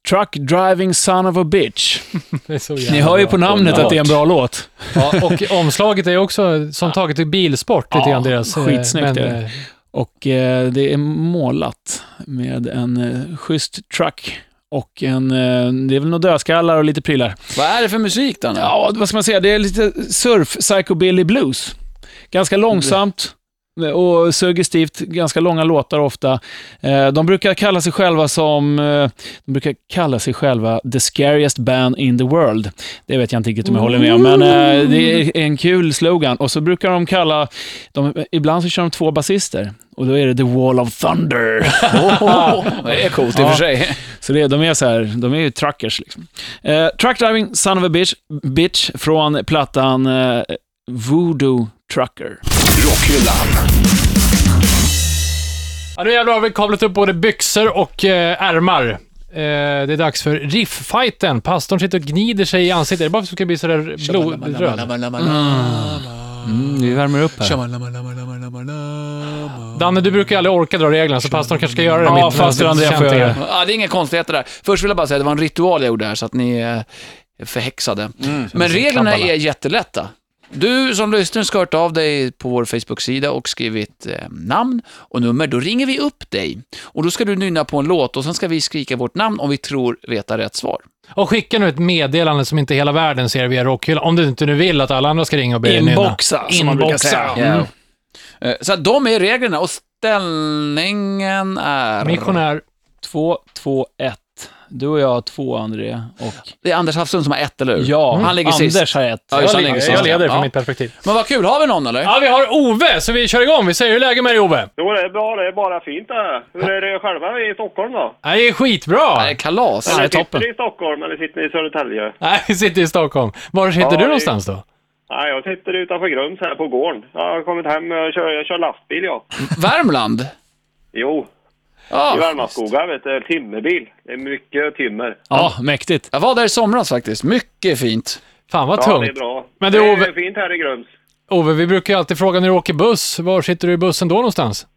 Speaker 4: Truck Driving Son of a Bitch.
Speaker 2: Det är så
Speaker 4: Ni
Speaker 2: jävla
Speaker 4: hör ju
Speaker 2: bra.
Speaker 4: på namnet
Speaker 3: Underbart.
Speaker 4: att det är en bra låt.
Speaker 2: Ja, och omslaget är också som taget till bilsport lite
Speaker 4: Ja,
Speaker 2: grann deras. eh,
Speaker 4: skitsnyggt är det.
Speaker 2: eh,
Speaker 4: Och eh, det är målat med en eh, schysst truck och en, eh, det är väl några dödskallar och lite prylar.
Speaker 3: Vad är det för musik, Danne?
Speaker 4: Ja, vad ska man säga? Det är lite surf, psychobilly blues. Ganska långsamt eh, och suggestivt, ganska långa låtar ofta. Eh, De brukar kalla sig själva som, eh, de brukar kalla sig själva the scariest band in the world. Det vet jag inte riktigt om jag håller med om, men eh, det är en kul slogan. Och så brukar de kalla, de, ibland så kör de två basister och då är det the wall of thunder.
Speaker 3: det är coolt i och
Speaker 4: Ja.
Speaker 3: för sig.
Speaker 4: Så det, de är så här, de är ju truckers liksom. Eh, truck driving, son of a bitch, bitch från plattan eh, Voodoo Trucker.
Speaker 1: Rockhyllan.
Speaker 2: Ja, nu jävlar har vi kavlat upp både byxor och eh, ärmar. Eh, det är dags för rifffighten. Pastorn sitter och gnider sig i ansiktet. Är det bara för att du ska bli sådär blodröd?
Speaker 4: Mm, vi värmer upp här.
Speaker 2: Danne, du brukar ju aldrig orka dra reglerna, så pastorn kanske ska göra det.
Speaker 4: Ja,
Speaker 2: mitt-
Speaker 4: faster
Speaker 2: mitt-
Speaker 4: Andrea får
Speaker 2: känt
Speaker 4: göra det.
Speaker 3: Ja, det är inga konstigheter där. Först vill jag bara säga att det var en ritual jag gjorde här, så att ni eh, är förhäxade. Men reglerna är jättelätta. Du som lyssnar ska ha hört av dig på vår Facebook-sida och skrivit eh, namn och nummer. Då ringer vi upp dig och då ska du nynna på en låt och sen ska vi skrika vårt namn om vi tror veta rätt svar.
Speaker 2: Och skicka nu ett meddelande som inte hela världen ser via rockhyllan. Om du inte nu vill att alla andra ska ringa och be dig nynna.
Speaker 4: Inboxa, som man brukar
Speaker 2: Inboxa.
Speaker 4: säga. Mm.
Speaker 3: Ja. Eh, Så att de är reglerna och ställningen är...
Speaker 2: Mm. Missionär.
Speaker 4: Två, två, ett. Du och jag har två, André. Och
Speaker 3: Det är Anders Hafsund som har ett, eller hur?
Speaker 4: ja,
Speaker 3: han ligger
Speaker 4: Mm. Anders
Speaker 3: sist.
Speaker 4: har ett.
Speaker 3: Ja, just det, han ligger sist.
Speaker 2: Jag leder från
Speaker 3: Ja.
Speaker 2: mitt perspektiv.
Speaker 3: Men vad kul, har vi någon eller?
Speaker 2: Ja, vi har Ove, så vi kör igång. Vi säger hur är läget med dig, Ove?
Speaker 5: Jo, det är bra. Det är bara fint det här. Hur är det själva i Stockholm då?
Speaker 2: Nej, Det är skitbra!
Speaker 3: Nej, Eh, kalas.
Speaker 4: Ja, det är
Speaker 5: Eller sitter
Speaker 4: toppen.
Speaker 5: ni i Stockholm eller sitter ni i Södertälje?
Speaker 2: Nej, vi sitter i Stockholm. Var sitter
Speaker 5: Ja,
Speaker 2: du
Speaker 5: det-
Speaker 2: någonstans då?
Speaker 5: Nej, jag sitter utanför Grums här på gården. Jag har kommit hem. Jag kör, jag kör lastbil, jag.
Speaker 3: Värmland?
Speaker 5: Jo, i
Speaker 3: Ja.
Speaker 5: Värmlandsskogar vet du. Timmerbil. Det är mycket timmer.
Speaker 4: Ja, mäktigt.
Speaker 3: Jag var där i somras faktiskt. Mycket fint.
Speaker 2: Fan vad
Speaker 5: Ja, det är
Speaker 2: tungt.
Speaker 5: bra.
Speaker 2: Men
Speaker 5: Men
Speaker 2: du,
Speaker 5: det,
Speaker 2: Ove-
Speaker 5: är fint här i Grums.
Speaker 2: Ove, vi brukar ju alltid fråga när du åker buss. Var sitter du i bussen då någonstans?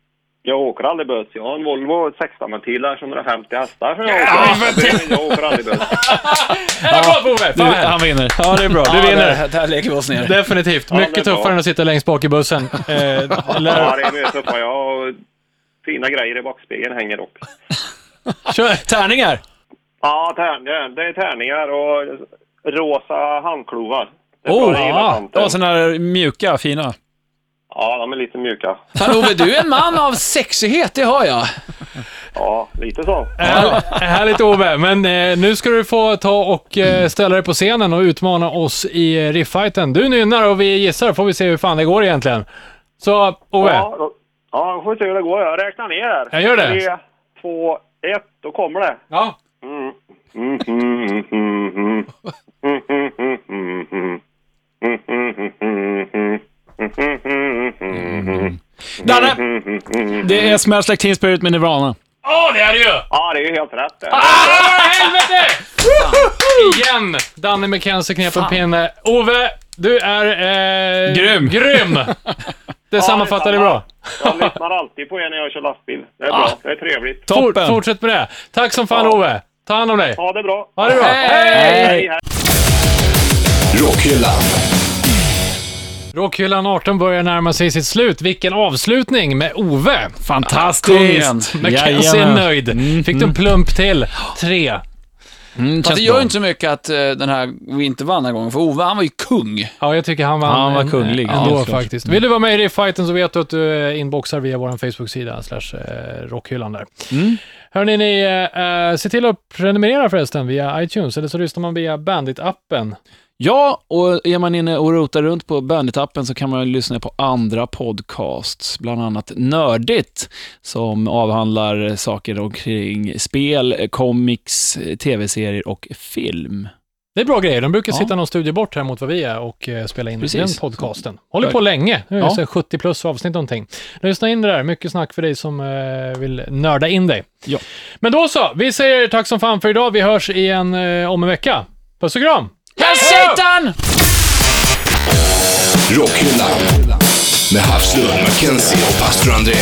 Speaker 5: Jag åker aldrig buss. Jag har en Volvo 16-ventilar, 150 hästar som jag åker. Men jag åker aldrig buss.
Speaker 2: Ja, bra Ove!
Speaker 4: Du, han vinner.
Speaker 2: Ja, det är bra. Du vinner.
Speaker 3: där lägger vi oss ner.
Speaker 2: Definitivt.
Speaker 5: det
Speaker 2: Mycket
Speaker 5: är bra.
Speaker 2: tuffare än att sitta längst bak i bussen. Eh,
Speaker 5: Ja,
Speaker 2: lär-
Speaker 5: det är mycket tuffare. Jag har fina grejer i backspegeln hänger dock.
Speaker 2: Kör.
Speaker 4: Tärningar.
Speaker 5: Ja, tärningar. Det är tärningar och rosa handklovar. Det är
Speaker 4: Oh,
Speaker 5: bra, jag gillar
Speaker 4: ja.
Speaker 5: tanten.
Speaker 4: ja, sådana här mjuka, fina.
Speaker 5: Ja, de är lite mjuka.
Speaker 3: Fan Ove, du är en man av sexighet, det hör jag.
Speaker 5: Ja, lite så.
Speaker 2: Här- Härligt Ove, men eh, nu ska du få ta och eh, ställa dig på scenen och utmana oss i eh, rifffighten. Du nynnar och vi gissar, får vi se hur fan det går egentligen. Så Ove,
Speaker 5: Ja, då, ja, då får vi se hur det går. Jag räknar ner här.
Speaker 2: Jag gör det.
Speaker 5: Tre, två, ett. Då kommer det.
Speaker 2: ja.
Speaker 4: Danne! Det är Smash Like Teen Spirit med Nirvana.
Speaker 2: Åh, det är det ju!
Speaker 5: Ja, det är ju helt rätt det.
Speaker 2: Ah, helvete! Igen! Danne McKenzie knep en pinne. Ove, du är... Eh,
Speaker 4: Grym.
Speaker 2: Grym! Det sammanfattar det bra.
Speaker 5: Jag lyssnar alltid på er när jag kör lastbil. Det är bra.
Speaker 2: Ah!
Speaker 5: Det är trevligt.
Speaker 2: Fort,
Speaker 4: Toppen!
Speaker 2: fortsätt med det. Tack som fan Ove. Ta hand om dig.
Speaker 5: Ha det bra.
Speaker 2: Ha det bra.
Speaker 5: Hej, hej.
Speaker 1: Rockhyllan.
Speaker 2: Rockhyllan 18 börjar närma sig sitt slut. Vilken avslutning med Ove!
Speaker 4: Fantastiskt!
Speaker 2: McKenzie är nöjd. Fick du en plump till. Tre.
Speaker 4: Mm,
Speaker 3: Fast det
Speaker 4: känns
Speaker 3: gör ju
Speaker 4: bra.
Speaker 3: inte så mycket att eh, den här vi inte vann den här gången, för Ove han var ju kung.
Speaker 2: Ja, jag tycker han vann.
Speaker 4: Han var
Speaker 2: en-
Speaker 4: kunglig,
Speaker 2: Ändå
Speaker 4: helt klart.
Speaker 2: faktiskt. Vill du vara med i fighten så vet du att du eh, inboxar via vår Facebook-sida, slash eh, rockhyllan där.
Speaker 4: Mm.
Speaker 2: Hörrni, ni, eh, eh, se till att prenumerera förresten via iTunes, eller så lyssnar man via Bandit-appen.
Speaker 4: Ja, och är man inne och rotar runt på Bandit-appen så kan man lyssna på andra podcasts, bland annat Nördigt, som avhandlar saker omkring spel, comics, tv-serier och film.
Speaker 2: Det är bra grejer. De brukar
Speaker 4: Ja.
Speaker 2: sitta någon studie bort här mot vad vi är och eh, spela in
Speaker 4: Precis.
Speaker 2: den podcasten. Håller på länge. Nu är det
Speaker 4: Ja.
Speaker 2: så här 70 plus avsnitt någonting. Lyssna in det där. Mycket snack för dig som eh, vill nörda in dig.
Speaker 4: Ja.
Speaker 2: Men då så. Vi säger tack som fan för idag. Vi hörs igen eh, om en vecka. Puss och kram!
Speaker 3: Herr Satan!
Speaker 1: Rockhyllan. Med Havslund, Mackenzie och pastor André.